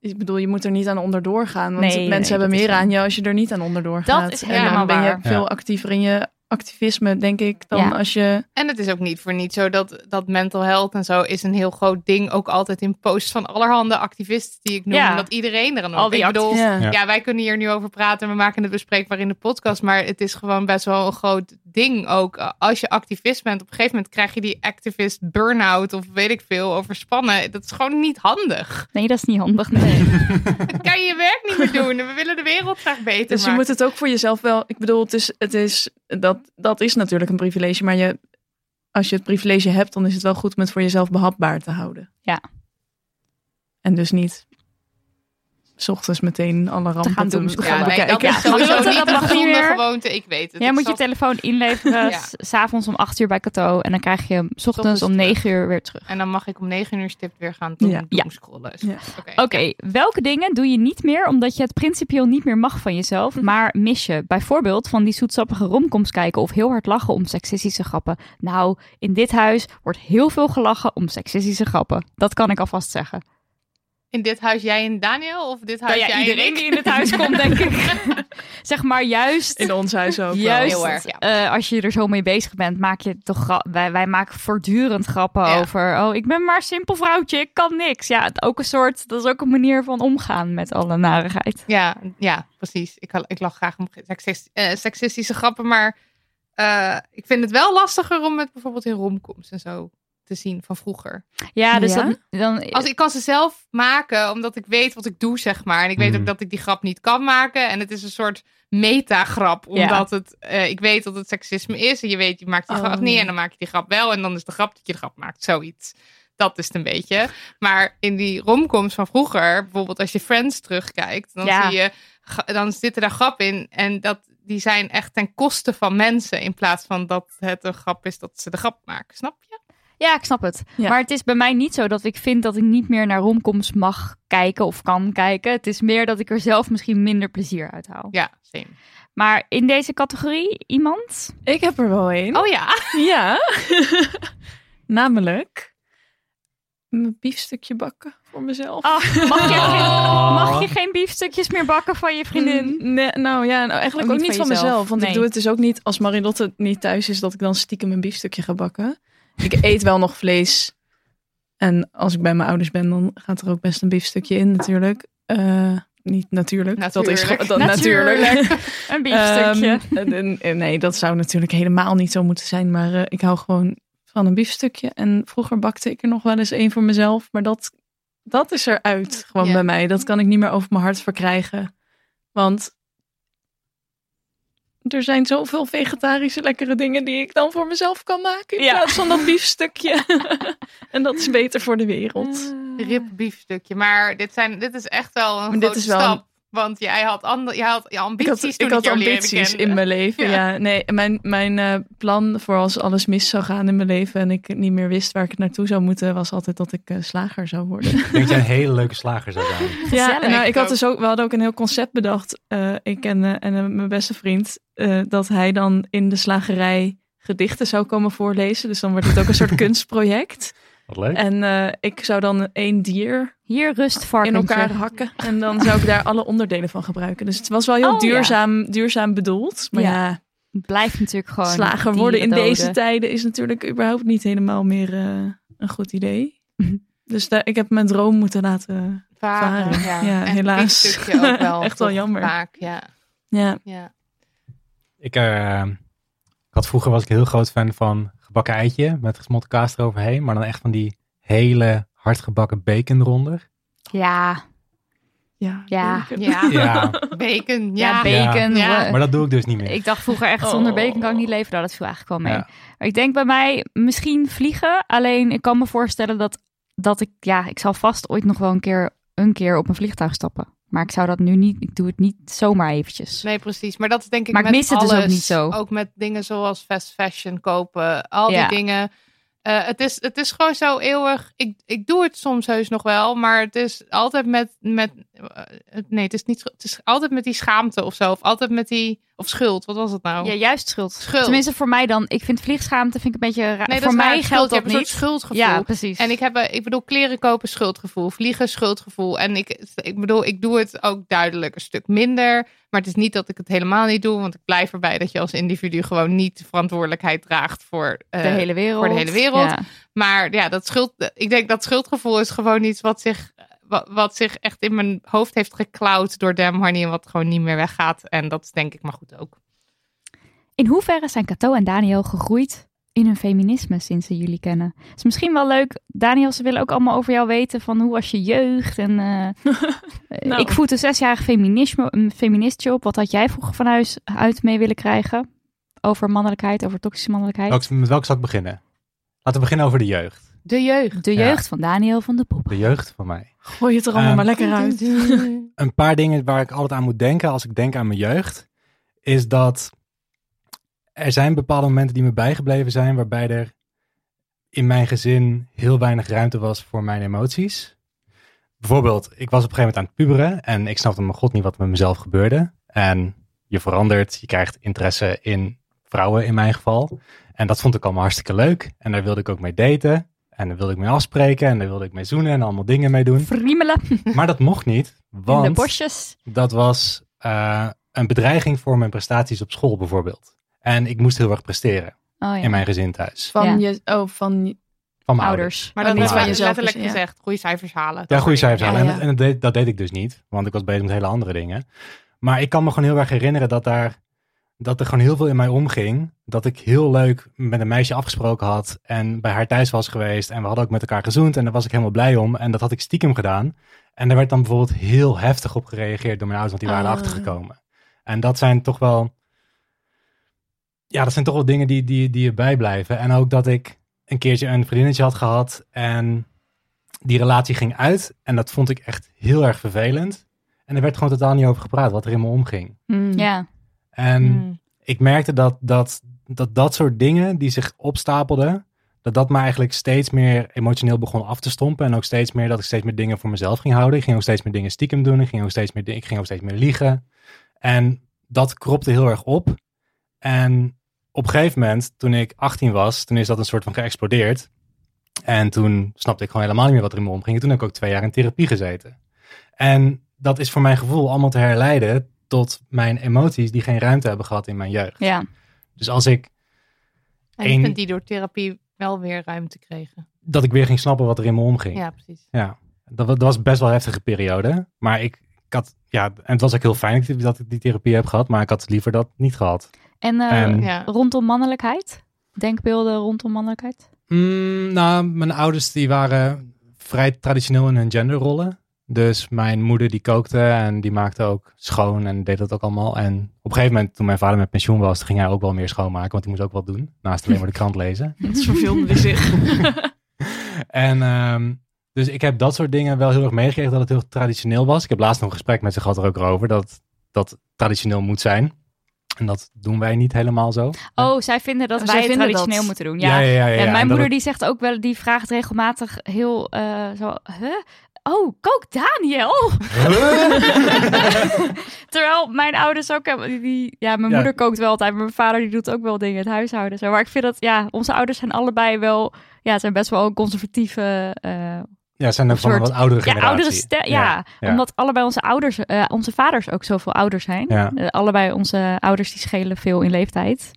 Speaker 5: ik bedoel, je moet er niet aan onderdoor gaan. Want
Speaker 3: Nee, nee,
Speaker 5: mensen hebben
Speaker 3: dat is
Speaker 5: meer
Speaker 3: waar.
Speaker 5: aan je als je er niet aan onderdoor
Speaker 3: Dat
Speaker 5: gaat.
Speaker 3: is
Speaker 5: en
Speaker 3: helemaal
Speaker 5: dan ben je
Speaker 3: waar.
Speaker 5: veel
Speaker 4: Ja.
Speaker 5: actiever in je activisme, denk ik, dan
Speaker 3: Ja.
Speaker 5: als je...
Speaker 2: En het is ook niet voor niet zo dat, dat mental health en zo is een heel groot ding. Ook altijd in posts van allerhande activisten die ik noem.
Speaker 3: Ja.
Speaker 2: Dat iedereen er een
Speaker 3: Al die
Speaker 2: ik bedoel,
Speaker 5: Ja.
Speaker 2: ja. wij kunnen hier nu over praten. We maken het bespreekbaar in de podcast. Maar het is gewoon best wel een groot ding ook. Eh, Als je activist bent, op een gegeven moment krijg je die activist burn-out of weet ik veel, overspannen. Dat is gewoon niet handig.
Speaker 3: Nee, dat is niet handig. (laughs) Nee.
Speaker 2: Dan kan je je werk niet meer doen. En We willen de wereld graag beter
Speaker 5: Dus je
Speaker 2: maken.
Speaker 5: moet het ook voor jezelf wel... Ik bedoel, het is, het is, dat, dat is natuurlijk een privilege. Maar je, als je het privilege hebt, dan is het wel goed om het voor jezelf behapbaar te houden.
Speaker 3: Ja.
Speaker 5: En dus niet... S ochtends meteen alle rampen
Speaker 3: gaan
Speaker 5: te
Speaker 3: doen.
Speaker 5: gaan
Speaker 2: ja, nee, dat
Speaker 5: (laughs) bekijken.
Speaker 2: is sowieso
Speaker 3: Dat
Speaker 2: niet een
Speaker 3: mag niet
Speaker 2: gezonde
Speaker 3: meer.
Speaker 2: gewoonte. Ik weet het.
Speaker 3: Jij
Speaker 2: Ik
Speaker 3: moet je
Speaker 2: snap-
Speaker 3: telefoon inleveren
Speaker 2: Ja.
Speaker 3: s s'avonds om 8 uur bij Cato. En dan krijg je hem 's ochtends
Speaker 2: Ochtends
Speaker 3: om
Speaker 2: terug.
Speaker 3: 9 uur weer terug.
Speaker 2: En dan mag ik om negen uur stipt weer gaan doen,
Speaker 5: Ja.
Speaker 2: doen
Speaker 3: Ja.
Speaker 2: scrollen.
Speaker 5: Ja.
Speaker 2: Oké.
Speaker 3: Oké, welke dingen doe je niet meer omdat je het principieel niet meer mag van jezelf, maar mis je? Bijvoorbeeld van die zoetsappige romcoms kijken of heel hard lachen om seksistische grappen. Nou, in dit huis wordt heel veel gelachen om seksistische grappen. Dat kan ik alvast zeggen.
Speaker 2: In dit huis jij en Daniel? Of dit huis
Speaker 3: Nou ja,
Speaker 2: jij en
Speaker 3: iedereen
Speaker 2: ik? (laughs)
Speaker 3: die in het huis komt, denk ik. (laughs) zeg maar juist.
Speaker 5: In ons huis ook. wel.
Speaker 3: Juist,
Speaker 2: heel erg, ja.
Speaker 3: eh, als je er zo mee bezig bent, maak je toch gra- wij, wij maken voortdurend grappen
Speaker 2: Ja.
Speaker 3: over. Oh, ik ben maar een simpel vrouwtje, ik kan niks. Ja, het- ook een soort, dat is ook een manier van omgaan met alle narigheid.
Speaker 2: (laughs) Ja, ja precies. Ik, ik lach graag om seksist- eh, seksistische grappen, maar eh, ik vind het wel lastiger om het bijvoorbeeld in romcoms en zo te zien van vroeger.
Speaker 3: Ja, dus
Speaker 5: Ja?
Speaker 3: Dan, dan
Speaker 2: Als ik kan ze zelf maken, omdat ik weet wat ik doe, zeg maar. En ik weet
Speaker 4: Mm.
Speaker 2: ook dat ik die grap niet kan maken. En het is een soort metagrap, omdat het, eh, ik weet dat het seksisme is. En je weet, je maakt die
Speaker 5: Oh,
Speaker 2: grap niet
Speaker 5: ja.
Speaker 2: en dan maak je die grap wel. En dan is de grap dat je de grap maakt, zoiets. Dat is het een beetje. Maar in die romcoms van vroeger, bijvoorbeeld als je Friends terugkijkt, dan
Speaker 3: Ja.
Speaker 2: zie je, ga- dan zitten daar grap in. En dat, die zijn echt ten koste van mensen, in plaats van dat het een grap is dat ze de grap maken. Snap je?
Speaker 3: ja, ik snap het.
Speaker 5: Ja.
Speaker 3: Maar het is bij mij niet zo dat ik vind dat ik niet meer naar romcoms mag kijken of kan kijken. Het is meer dat ik er zelf misschien minder plezier uit haal.
Speaker 2: Ja, same.
Speaker 3: Maar in deze categorie iemand?
Speaker 5: Ik heb er wel een.
Speaker 2: Oh ja.
Speaker 5: Ja. (laughs) Namelijk mijn biefstukje bakken voor mezelf.
Speaker 3: Ah, mag, je geen,
Speaker 4: Oh.
Speaker 3: mag je geen biefstukjes meer bakken van je vriendin?
Speaker 5: Mm, Nee, nou ja, nou, eigenlijk ook, niet van,
Speaker 3: jezelf.
Speaker 5: mezelf. Want
Speaker 3: Nee.
Speaker 5: ik doe het dus ook niet als Marilotte niet thuis is, dat ik dan stiekem een biefstukje ga bakken. Ik (laughs) eet wel nog vlees. En als ik bij mijn ouders ben, dan gaat er ook best een biefstukje in, natuurlijk. Eh, niet natuurlijk. Dat is
Speaker 2: Natuurlijk.
Speaker 5: gewoon- dat,
Speaker 3: Natuurlijk.
Speaker 5: natuurlijk.
Speaker 3: Een biefstukje.
Speaker 5: Ehm, en- en- nee, dat zou natuurlijk helemaal niet zo moeten zijn. Maar eh, ik hou gewoon van een biefstukje. En vroeger bakte ik er nog wel eens één voor mezelf. Maar dat, dat is eruit gewoon
Speaker 2: Ja.
Speaker 5: bij mij. Dat kan ik niet meer over mijn hart verkrijgen. Want er zijn zoveel vegetarische lekkere dingen die ik dan voor mezelf kan maken. In
Speaker 3: Ja.
Speaker 5: plaats van dat
Speaker 3: (laughs)
Speaker 5: biefstukje. en dat is beter voor de
Speaker 3: Eh,
Speaker 5: wereld.
Speaker 2: Rip biefstukje. Maar dit, zijn, dit is echt wel een
Speaker 5: Maar dit
Speaker 2: grote
Speaker 5: is wel
Speaker 2: stap. Want jij had, ander, jij had je
Speaker 5: Ik had,
Speaker 2: ambities
Speaker 5: ik
Speaker 2: toen
Speaker 5: had
Speaker 2: ik jou leerde
Speaker 5: ambities
Speaker 2: kennen.
Speaker 5: in mijn leven. Ja. nee, mijn, mijn eh, plan voor als alles mis zou gaan in mijn leven en ik niet meer wist waar ik naartoe zou moeten, was altijd dat ik eh, slager zou worden.
Speaker 4: Ik denk dat jij een hele leuke slager zou zijn.
Speaker 5: ja,
Speaker 3: Gezellig.
Speaker 5: nou, ik had dus ook, we hadden ook een heel concept bedacht, eh, ik en, eh, en eh, mijn beste vriend, eh, dat hij dan in de slagerij gedichten zou komen voorlezen. Dus dan wordt het ook een soort kunstproject.
Speaker 4: Wat leuk.
Speaker 5: En eh, ik zou dan één dier
Speaker 3: Hier rust
Speaker 5: in
Speaker 3: varkentje.
Speaker 5: elkaar hakken. En dan zou ik daar alle onderdelen van gebruiken. Dus het was wel heel
Speaker 3: Oh, ja.
Speaker 5: duurzaam, duurzaam bedoeld. Maar
Speaker 3: Ja.
Speaker 5: ja
Speaker 3: Het blijft natuurlijk gewoon
Speaker 5: slager worden in
Speaker 3: dieren
Speaker 5: deze
Speaker 3: doden.
Speaker 5: tijden is natuurlijk überhaupt niet helemaal meer eh, een goed
Speaker 3: (laughs)
Speaker 5: idee. dus daar, ik heb mijn droom moeten laten.
Speaker 2: Varen,
Speaker 5: Varen,
Speaker 2: ja.
Speaker 5: ja,
Speaker 2: En
Speaker 5: helaas.
Speaker 2: een biefstukje ook wel.
Speaker 5: (laughs) Echt wel
Speaker 2: toch
Speaker 5: jammer.
Speaker 2: Vaak, ja.
Speaker 5: Ja.
Speaker 2: ja.
Speaker 4: Ik, eh, ik had vroeger was ik een heel groot fan van gebakken eitje met gesmolten kaas eroverheen. Maar dan echt van die hele hardgebakken bacon eronder.
Speaker 3: Ja,
Speaker 5: Ja.
Speaker 3: Ja.
Speaker 5: zeker.
Speaker 2: Ja.
Speaker 4: Ja,
Speaker 2: Bacon,
Speaker 3: ja,
Speaker 2: ja.
Speaker 4: Ja.
Speaker 3: bacon.
Speaker 2: Ja.
Speaker 3: we-
Speaker 4: maar dat doe ik dus niet meer.
Speaker 3: Ik dacht vroeger echt zonder
Speaker 5: Oh.
Speaker 3: bacon kan ik niet leven. Nou, dat viel eigenlijk wel mee.
Speaker 4: Ja.
Speaker 3: Maar ik denk bij mij misschien vliegen. Alleen ik kan me voorstellen dat dat ik, ja, ik zal vast ooit nog wel een keer, een keer op een vliegtuig stappen. Maar ik zou dat nu niet, ik doe het niet zomaar eventjes.
Speaker 2: Nee, precies. Maar dat is denk ik
Speaker 3: Maar ik
Speaker 2: met
Speaker 3: mis het dus
Speaker 2: alles.
Speaker 3: ook niet zo.
Speaker 2: Ook met dingen zoals fast fashion kopen. Al die
Speaker 3: Ja.
Speaker 2: dingen. Eh, het, is, het is gewoon zo eeuwig. Ik, ik doe het soms heus nog wel. Maar het is altijd met... met eh, het- nee, het is, niet, scho- het is altijd met die schaamte of zo. Of altijd met die... Of schuld. Wat was het nou?
Speaker 3: Ja, juist Oh. schuld.
Speaker 2: Schuld.
Speaker 3: Tenminste, voor mij dan. Ik vind vliegschaamte vind ik een beetje raar.
Speaker 2: nee, dat
Speaker 3: voor
Speaker 2: is waar.
Speaker 3: mij
Speaker 2: Schuld.
Speaker 3: geldt
Speaker 2: Je
Speaker 3: dat
Speaker 2: hebt een
Speaker 3: niet.
Speaker 2: soort schuldgevoel.
Speaker 3: Ja, precies.
Speaker 2: En ik heb, eh, ik bedoel, kleren kopen schuldgevoel, vliegen schuldgevoel. En ik, ik bedoel, ik doe het ook duidelijk een stuk minder. Maar het is niet dat ik het helemaal niet doe, want ik blijf erbij dat je als individu gewoon niet de verantwoordelijkheid draagt voor eh,
Speaker 3: de hele wereld.
Speaker 2: voor de hele wereld.
Speaker 3: Ja.
Speaker 2: Maar ja, dat schuld, ik denk dat schuldgevoel is gewoon iets wat zich, wat, wat zich echt in mijn hoofd heeft geklauwd door Dam Honey en wat gewoon niet meer weggaat. En dat is denk ik maar goed ook.
Speaker 3: In hoeverre zijn Cato en Daniel gegroeid in hun feminisme sinds ze jullie kennen? is misschien wel leuk. Daniel, ze willen ook allemaal over jou weten van hoe was je jeugd? En, (laughs) eh, eh,
Speaker 5: Nou.
Speaker 3: Ik voed een zesjarig feminisme, een feministje op. Wat had jij vroeger van huis uit mee willen krijgen? Over mannelijkheid, over toxische mannelijkheid.
Speaker 4: Welk- met welk zal ik beginnen? Laten we beginnen over de jeugd.
Speaker 2: De jeugd.
Speaker 3: De
Speaker 4: Ja.
Speaker 3: jeugd van Daniel van de Pop.
Speaker 4: De jeugd van mij.
Speaker 5: Gooi het er allemaal
Speaker 4: Ehm,
Speaker 5: maar lekker uit.
Speaker 4: een paar dingen waar ik altijd aan moet denken als ik denk aan mijn jeugd, is dat er zijn bepaalde momenten die me bijgebleven zijn waarbij er in mijn gezin heel weinig ruimte was voor mijn emoties. Bijvoorbeeld, ik was op een gegeven moment aan het puberen en ik snapte mijn god niet wat met mezelf gebeurde. En je verandert, je krijgt interesse in vrouwen in mijn geval. En dat vond ik allemaal hartstikke leuk. En daar wilde ik ook mee daten. En daar wilde ik mee afspreken. En daar wilde ik mee zoenen en allemaal dingen mee
Speaker 3: (laughs)
Speaker 4: doen.
Speaker 3: Friemelen
Speaker 4: Maar dat mocht niet,
Speaker 3: in de
Speaker 4: want
Speaker 3: bosjes.
Speaker 4: dat was eh, een bedreiging voor mijn prestaties op school bijvoorbeeld. En ik moest heel erg presteren
Speaker 3: Oh ja,
Speaker 4: in mijn gezin thuis.
Speaker 5: Van
Speaker 3: Ja.
Speaker 5: je, oh, van je-
Speaker 4: Van mijn ouders.
Speaker 3: ouders.
Speaker 2: Maar dat
Speaker 4: niet
Speaker 2: is
Speaker 4: waar.
Speaker 2: wel
Speaker 5: Jezelf is,
Speaker 2: letterlijk
Speaker 5: ja.
Speaker 2: gezegd. Goede cijfers halen.
Speaker 4: Ja,
Speaker 2: Dat
Speaker 4: goede
Speaker 2: soort
Speaker 4: cijfers
Speaker 2: dingen.
Speaker 4: halen.
Speaker 5: Ja,
Speaker 4: En,
Speaker 5: ja.
Speaker 4: en dat, deed, dat deed ik dus niet, want ik was bezig met hele andere dingen. Maar ik kan me gewoon heel erg herinneren dat, daar, dat er gewoon heel veel in mij omging. Dat ik heel leuk met een meisje afgesproken had en bij haar thuis was geweest. En we hadden ook met elkaar gezoend en daar was ik helemaal blij om. En dat had ik stiekem gedaan. En daar werd dan bijvoorbeeld heel heftig op gereageerd door mijn ouders, want die waren
Speaker 5: Ah.
Speaker 4: achtergekomen. En dat zijn toch wel... Ja, dat zijn toch wel dingen die, die, die erbij blijven. En ook dat ik een keertje een vriendinnetje had gehad en die relatie ging uit. En dat vond ik echt heel erg vervelend. En er werd gewoon totaal niet over gepraat wat er in me omging.
Speaker 5: Mm. (laughs)
Speaker 3: Ja,
Speaker 4: En
Speaker 2: Hmm.
Speaker 4: ik merkte dat dat, dat dat soort dingen die zich opstapelden, dat dat me eigenlijk steeds meer emotioneel begon af te stompen. En ook steeds meer dat ik steeds meer dingen voor mezelf ging houden. Ik ging ook steeds meer dingen stiekem doen. Ik ging ook steeds meer, di- ik ging ook steeds meer liegen. En dat kropte heel erg op. En op een gegeven moment, toen ik 18 was, toen is dat een soort van geëxplodeerd. En toen snapte ik gewoon helemaal niet meer wat er in me omging. En Toen heb ik ook twee jaar in therapie gezeten. En dat is voor mijn gevoel allemaal te herleiden tot mijn emoties die geen ruimte hebben gehad in mijn jeugd.
Speaker 3: ja.
Speaker 4: Dus als ik,
Speaker 2: En ik
Speaker 4: Eén-
Speaker 2: vind die door therapie wel weer ruimte kregen.
Speaker 4: dat ik weer ging snappen wat er in me omging.
Speaker 2: Ja, precies.
Speaker 4: Ja. Dat, wa- dat was best wel een heftige periode. Maar ik, ik had, ja, en het was ook heel fijn dat ik- dat ik die therapie heb gehad. Maar ik had liever dat niet gehad.
Speaker 3: En eh,
Speaker 4: En-
Speaker 2: Ja.
Speaker 3: rondom mannelijkheid? Denkbeelden rondom mannelijkheid?
Speaker 4: Mm, nou, mijn ouders die waren vrij traditioneel in hun genderrollen. Dus mijn moeder die kookte en die maakte ook schoon en deed dat ook allemaal. En op een gegeven moment toen mijn vader met pensioen was, toen ging hij ook wel meer schoonmaken. Want hij moest ook wat doen, naast alleen maar de krant lezen.
Speaker 5: Dat is vervelend in
Speaker 3: (laughs)
Speaker 5: zich.
Speaker 4: En ehm, dus ik heb dat soort dingen wel heel erg meegekregen dat het heel traditioneel was. Ik heb laatst nog een gesprek met ze gehad er ook over dat dat traditioneel moet zijn. En dat doen wij niet helemaal zo.
Speaker 3: Oh, zij vinden dat
Speaker 5: Oh,
Speaker 3: wij
Speaker 5: zij
Speaker 3: het
Speaker 5: vinden
Speaker 3: traditioneel
Speaker 5: dat.
Speaker 3: moeten doen. Ja,
Speaker 4: ja, ja.
Speaker 3: En
Speaker 4: En
Speaker 3: mijn
Speaker 4: dat
Speaker 3: moeder
Speaker 4: het-
Speaker 3: die zegt ook wel, die vraagt regelmatig heel eh, zo, huh? Oh, kook Daniel! (laughs) Terwijl mijn ouders ook, helemaal- die- die, ja, mijn
Speaker 4: Ja.
Speaker 3: moeder kookt wel altijd, maar mijn vader die doet ook wel dingen, het huishouden. Zo. Maar ik vind dat, ja, onze ouders zijn allebei wel, ja, zijn best wel conservatieve, eh,
Speaker 4: (laughs) Ja, zijn ook van een
Speaker 3: soort-
Speaker 4: wat oudere
Speaker 3: ja,
Speaker 4: generatie.
Speaker 3: oudere stel. Ja,
Speaker 4: ja.
Speaker 3: omdat allebei onze ouders, eh, onze vaders ook zoveel ouder zijn.
Speaker 4: Ja.
Speaker 3: Eh, allebei onze ouders die schelen veel in leeftijd.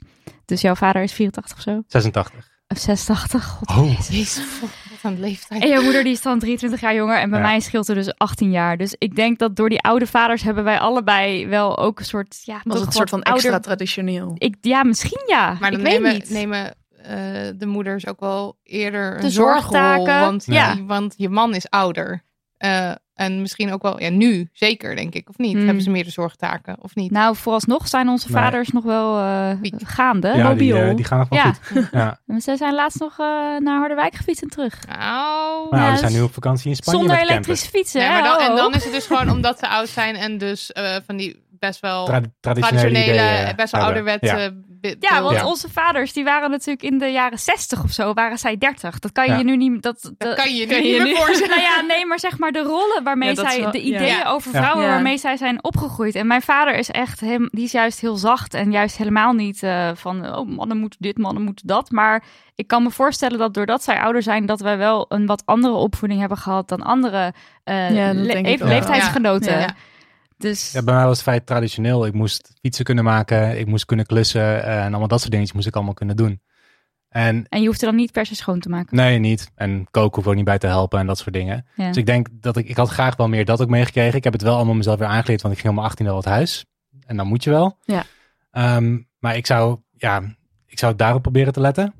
Speaker 3: Dus jouw vader is 84 of zo,
Speaker 4: 86.
Speaker 3: of 86, god
Speaker 4: Oh.
Speaker 3: jezus. (laughs)
Speaker 2: Jezus, wat een leeftijd.
Speaker 3: En jouw moeder die is dan 23 jaar jonger en bij
Speaker 4: Ja.
Speaker 3: mij scheelt er dus 18 jaar. Dus ik denk dat door die oude vaders hebben wij allebei wel ook een soort, ja,
Speaker 5: Was
Speaker 3: toch
Speaker 5: het een soort
Speaker 3: wat
Speaker 5: van extra
Speaker 3: ouder-
Speaker 5: traditioneel?
Speaker 3: Ik, ja, misschien ja.
Speaker 2: Maar dan
Speaker 3: ik weet
Speaker 2: nemen,
Speaker 3: niet.
Speaker 2: nemen eh, de moeders ook wel eerder
Speaker 3: De
Speaker 2: een zorgrol.
Speaker 3: zorgtaken,
Speaker 2: Want,
Speaker 3: ja.
Speaker 2: want je man is ouder. Eh, En misschien ook wel, ja, nu zeker, denk ik, of niet?
Speaker 3: Hmm.
Speaker 2: Hebben ze meer de zorgtaken, of niet?
Speaker 3: Nou, vooralsnog zijn onze
Speaker 4: Nee.
Speaker 3: vaders nog wel eh,
Speaker 2: Piek.
Speaker 3: gaande.
Speaker 4: ja, die,
Speaker 3: mobiel.
Speaker 4: eh, die gaan nog wel
Speaker 3: Ja.
Speaker 4: goed. Ja.
Speaker 3: Maar Ze zijn laatst nog eh, naar Harderwijk gefietst en terug.
Speaker 2: Nou,
Speaker 3: Ja,
Speaker 4: Maar ja, we
Speaker 3: dus
Speaker 4: zijn nu op vakantie in Spanje
Speaker 3: Zonder
Speaker 4: met de camper.
Speaker 3: elektrische fietsen.
Speaker 2: nee,
Speaker 3: hè?
Speaker 2: maar dan, en
Speaker 3: Hallo.
Speaker 2: dan is het dus gewoon omdat ze oud zijn en dus eh, van die best wel
Speaker 4: Tra- traditionele,
Speaker 2: traditionele,
Speaker 3: eh,
Speaker 2: eh,
Speaker 4: ideeën
Speaker 2: best wel
Speaker 4: hebben.
Speaker 2: ouderwetse
Speaker 4: Ja.
Speaker 2: be-
Speaker 3: Ja, want
Speaker 4: Ja.
Speaker 3: onze vaders die waren natuurlijk in de jaren 60 of zo, waren zij 30. Dat kan je
Speaker 4: Ja.
Speaker 3: je nu niet. Dat, dat,
Speaker 2: kan je je
Speaker 3: (laughs) kan
Speaker 2: niet meer voorstellen.
Speaker 3: Nou ja, nee, maar zeg maar de rollen waarmee
Speaker 5: Ja, dat is
Speaker 3: zij,
Speaker 5: wel-
Speaker 3: de
Speaker 5: ja.
Speaker 3: ideeën
Speaker 2: Ja.
Speaker 3: over
Speaker 4: Ja.
Speaker 3: vrouwen
Speaker 5: Ja.
Speaker 3: waarmee zij zijn opgegroeid. En mijn vader is echt, hem, die is juist heel zacht en juist helemaal niet eh, van, oh mannen moeten dit, mannen moeten dat. Maar ik kan me voorstellen dat doordat zij ouder zijn, dat wij wel een wat andere opvoeding hebben gehad dan andere eh,
Speaker 5: Ja, dat
Speaker 3: le-
Speaker 5: denk ik
Speaker 3: even-
Speaker 4: ook.
Speaker 3: leeftijdsgenoten.
Speaker 5: Ja.
Speaker 2: Ja.
Speaker 3: Dus
Speaker 4: Ja, bij mij was het vrij traditioneel. Ik moest fietsen kunnen maken, ik moest kunnen klussen eh, en allemaal dat soort dingetjes moest ik allemaal kunnen doen. En
Speaker 3: en je hoeft er dan niet per se schoon te maken.
Speaker 4: nee, niet. En koken hoef ik ook niet bij te helpen en dat soort dingen.
Speaker 3: Ja.
Speaker 4: Dus ik denk dat ik, ik had graag wel meer dat ook meegekregen. Ik heb het wel allemaal mezelf weer aangeleerd, want ik ging om mijn 18e al het huis. En dan moet je wel.
Speaker 5: Ja.
Speaker 4: Ehm, maar ik zou, ja, ik zou daarop proberen te letten.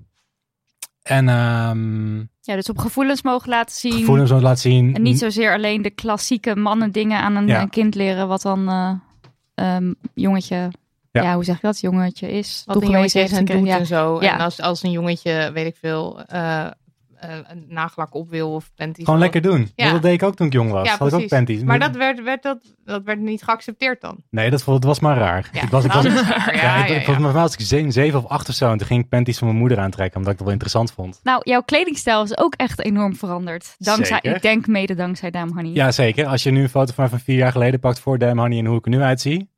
Speaker 4: En ehm
Speaker 3: Ja, dus op gevoelens mogen laten zien.
Speaker 4: gevoelens laten zien.
Speaker 3: En niet zozeer alleen de klassieke mannen dingen aan een
Speaker 4: Mhm. Ja.
Speaker 3: eh, kind leren, wat dan eh, ehm, jongetje, ja.
Speaker 4: Ja.
Speaker 3: hoe zeg je dat, jongetje is.
Speaker 2: wat een
Speaker 3: toegewezen
Speaker 2: jongetje is en
Speaker 3: heeft
Speaker 2: doet
Speaker 3: gekregen.
Speaker 2: en zo.
Speaker 3: Ja.
Speaker 2: En als, als een jongetje, weet ik veel, eh, eh, een nagellak op wil of panties.
Speaker 4: Gewoon
Speaker 2: wil.
Speaker 4: lekker doen.
Speaker 2: Ja.
Speaker 4: Dat deed ik ook toen ik jong was.
Speaker 2: Ja,
Speaker 4: had ik ook
Speaker 2: precies.
Speaker 4: panties.
Speaker 2: Maar dat werd, werd, dat, dat werd niet geaccepteerd dan.
Speaker 4: Nee, dat, vo- dat was maar raar.
Speaker 2: Ja,
Speaker 4: ik was, ik
Speaker 2: dat
Speaker 4: was,
Speaker 2: is raar.
Speaker 4: ja,
Speaker 2: Ja,
Speaker 4: ik,
Speaker 2: ja,
Speaker 4: ik was,
Speaker 2: ja.
Speaker 4: maar was ik zeven, zeven of acht of zo. En toen ging ik panties van mijn moeder aantrekken, omdat ik dat wel interessant vond.
Speaker 3: Nou, jouw kledingstijl is ook echt enorm veranderd. Dankzij,
Speaker 4: Zeker.
Speaker 3: ik denk mede dankzij Dame Honey.
Speaker 4: Ja, zeker. Als je nu een foto van mij van vier jaar geleden pakt voor Damn Honey en hoe ik er nu uitzie.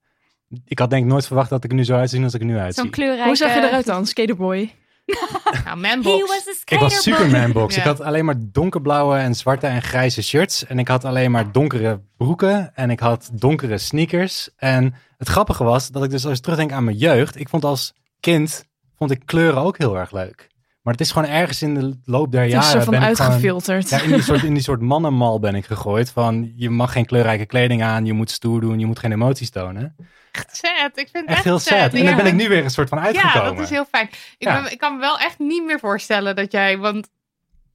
Speaker 4: Ik had denk ik nooit verwacht dat ik er nu zo uitzien als ik er nu uitzie.
Speaker 3: Zo'n kleurrijke...
Speaker 5: Hoe zag je eruit dan? Skaterboy.
Speaker 2: Nou,
Speaker 3: He
Speaker 2: manbox.
Speaker 3: was a
Speaker 4: Ik was
Speaker 3: skaterboy.
Speaker 4: Supermanbox.
Speaker 2: Ja.
Speaker 4: Ik had alleen maar donkerblauwe en zwarte en grijze shirts. En ik had alleen maar donkere broeken. En ik had donkere sneakers. En het grappige was dat ik dus als ik terugdenk aan mijn jeugd. Ik vond als kind vond ik kleuren ook heel erg leuk. Maar het is gewoon ergens in de loop der
Speaker 5: Ja, een
Speaker 4: jaren.
Speaker 5: soort van
Speaker 4: ben ik gewoon-
Speaker 5: uitgefilterd.
Speaker 4: ja, in die soort, in die soort mannenmal ben ik gegooid. Van je mag geen kleurrijke kleding aan. Je moet stoer doen. Je moet geen emoties tonen.
Speaker 2: Echt sad. Ik vind het
Speaker 4: Echt heel sad. En
Speaker 2: ja.
Speaker 4: daar ben ik nu weer een soort van
Speaker 2: Ja,
Speaker 4: uitgekomen.
Speaker 2: dat is heel fijn. Ik,
Speaker 4: Ja.
Speaker 2: ben- ik kan me wel echt niet meer voorstellen dat jij... Want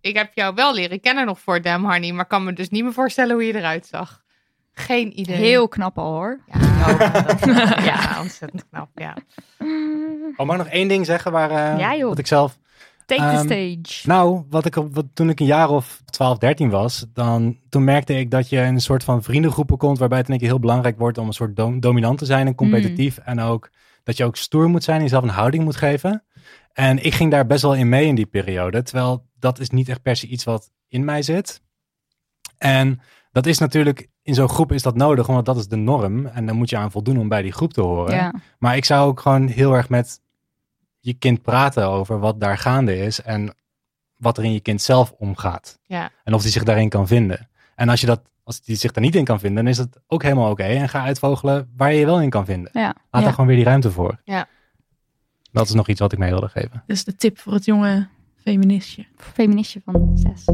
Speaker 2: ik heb jou wel leren kennen nog voor Damn Honey. Maar kan me dus niet meer voorstellen hoe je eruit zag. Geen idee.
Speaker 3: Heel knap al hoor.
Speaker 2: Ja, nou, dat- (laughs) ja, ontzettend knap. Ja.
Speaker 4: Oh, mag ik nog één ding zeggen waar, eh,
Speaker 3: Ja, joh.
Speaker 4: wat ik zelf
Speaker 3: Take the
Speaker 4: Ehm,
Speaker 3: stage.
Speaker 4: Nou, wat ik, op- wat, toen ik een jaar of 12, 13 was, dan, toen merkte ik dat je in een soort van vriendengroepen komt, waarbij het in één keer heel belangrijk wordt om een soort dom- dominant te zijn en competitief. En ook dat je ook stoer moet zijn en jezelf een houding moet geven. En ik ging daar best wel in mee in die periode, terwijl dat is niet echt per se iets wat in mij zit. En dat is natuurlijk, in zo'n groep is dat nodig, want dat is de norm. En dan moet je aan voldoen om bij die groep te horen.
Speaker 3: Ja.
Speaker 4: Maar ik zou ook gewoon heel erg met je kind praten over wat daar gaande is en wat er in je kind zelf omgaat.
Speaker 2: Ja.
Speaker 4: En of die zich daarin kan vinden. En als je dat, als die zich daar niet in kan vinden, dan is dat ook helemaal oké. En ga uitvogelen waar je je wel in kan vinden.
Speaker 3: Ja.
Speaker 4: Laat daar gewoon weer die ruimte voor.
Speaker 2: Ja.
Speaker 4: Dat is nog iets wat ik mee wilde geven.
Speaker 5: Dat is de tip voor het jonge feministje.
Speaker 3: Feministje van zes.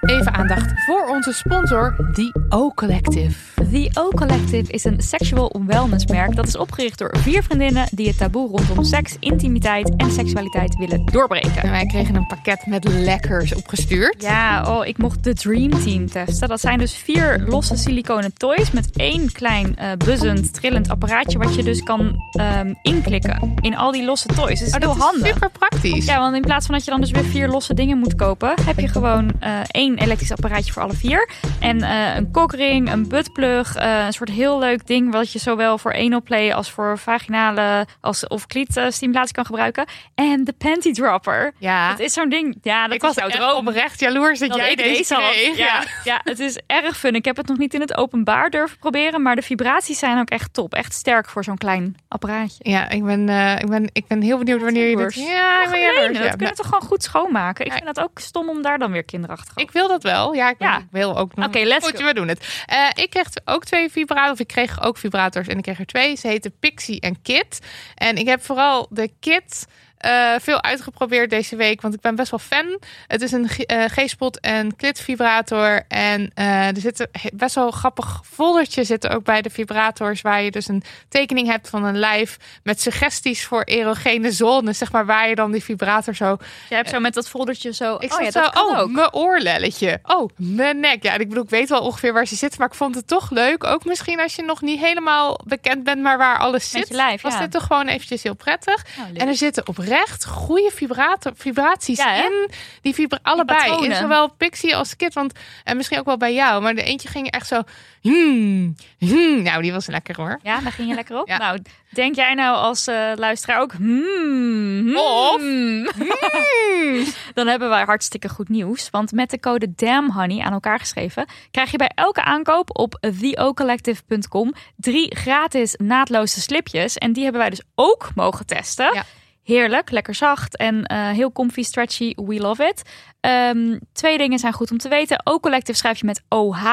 Speaker 6: Even aandacht voor onze sponsor, The O Collective.
Speaker 3: The O Collective is een sexual wellnessmerk dat is opgericht door vier vriendinnen die het taboe rondom seks, intimiteit en seksualiteit willen doorbreken.
Speaker 2: En wij kregen een pakket met lekkers opgestuurd.
Speaker 3: Ja, oh, ik mocht de Dream Team testen. Dat zijn dus vier losse siliconen toys met één klein eh, buzzend, trillend apparaatje wat je dus kan ehm, inklikken in al die losse toys. Dus
Speaker 2: Oh,
Speaker 3: dat is heel handig.
Speaker 2: super praktisch.
Speaker 3: Ja, want in plaats van dat je dan dus weer vier losse dingen moet kopen, heb je gewoon eh, één elektrisch apparaatje voor alle vier. En eh, een kokring, een buttplug, eh, een soort heel leuk ding wat je zowel voor play als voor vaginale als, of klietstimulatie kan gebruiken. En de panty dropper.
Speaker 2: Ja.
Speaker 3: Het is zo'n ding. Ja, dat
Speaker 2: ik
Speaker 3: was
Speaker 2: was
Speaker 3: jouw
Speaker 2: echt
Speaker 3: droom.
Speaker 2: oprecht jaloers dat,
Speaker 3: Dat
Speaker 2: jij
Speaker 3: ik
Speaker 2: deze,
Speaker 3: deze had.
Speaker 2: kreeg.
Speaker 3: Ja, ja, het is erg fun. Ik heb het nog niet in het openbaar durven proberen, maar de vibraties zijn ook echt top. Echt sterk voor zo'n klein apparaatje.
Speaker 2: Ja, ik ben, eh, ik, ben, ik ben heel benieuwd wanneer je dit...
Speaker 3: Jaloers.
Speaker 2: Ja, ik ben jaloers.
Speaker 3: dat
Speaker 2: ja.
Speaker 3: kunnen we toch gewoon goed schoonmaken? Ik
Speaker 2: Ja.
Speaker 3: vind dat ook stom om daar dan weer kinderachtig
Speaker 2: Ik wil dat wel. Ja, ik,
Speaker 3: Ja.
Speaker 2: ik wil ook nog.
Speaker 3: Oké, let's
Speaker 2: Goed,
Speaker 3: go.
Speaker 2: we doen het. Eh, ik kreeg ook twee vibrators. Of ik kreeg ook vibrators en ik kreeg er twee. Ze heten Pixie en Kit. En ik heb vooral de Kit eh, veel uitgeprobeerd deze week, want ik ben best wel fan. Het is een G- eh, G-spot en klitvibrator. En eh, er zitten he- best wel grappig foldertje zitten ook bij de vibrators. Waar je dus een tekening hebt van een lijf met suggesties voor erogene zones. Zeg maar waar je dan die vibrator zo
Speaker 3: Jij hebt zo met dat foldertje zo...
Speaker 2: ik
Speaker 3: oh ja,
Speaker 2: zat
Speaker 3: dat
Speaker 2: zo,
Speaker 3: kan
Speaker 2: oh,
Speaker 3: ook.
Speaker 2: mijn oorlelletje. Oh, mijn nek. Ja, en ik bedoel, ik weet wel ongeveer waar ze zit, maar ik vond het toch leuk. Ook misschien als je nog niet helemaal bekend bent, maar waar alles
Speaker 3: Met
Speaker 2: zit.
Speaker 3: je lijf,
Speaker 2: was
Speaker 3: ja.
Speaker 2: dit toch gewoon eventjes heel prettig.
Speaker 3: Nou, leuk.
Speaker 2: En er zitten oprecht goede vibrator, vibraties
Speaker 3: Ja, hè?
Speaker 2: in. Die vibra allebei. in
Speaker 3: patronen.
Speaker 2: zowel Pixie als Kit. Want, en misschien ook wel bij jou. Maar de eentje ging echt zo... Hmm, hmm. Nou, die was lekker hoor.
Speaker 3: Ja, daar ging je lekker op.
Speaker 2: (laughs) Ja.
Speaker 3: Nou, denk jij nou als eh, luisteraar ook... hmm, hmm, (laughs)
Speaker 2: Of-
Speaker 3: hmm. Dan hebben wij hartstikke goed nieuws. Want met de code DAMHONEY aan elkaar geschreven... krijg je bij elke aankoop op theocollective.com... drie gratis naadloze slipjes. En die hebben wij dus ook mogen testen.
Speaker 2: Ja.
Speaker 3: Heerlijk, lekker zacht en eh, heel comfy, stretchy. We love it. Ehm, twee dingen zijn goed om te weten. O-Collective schrijf je met OH.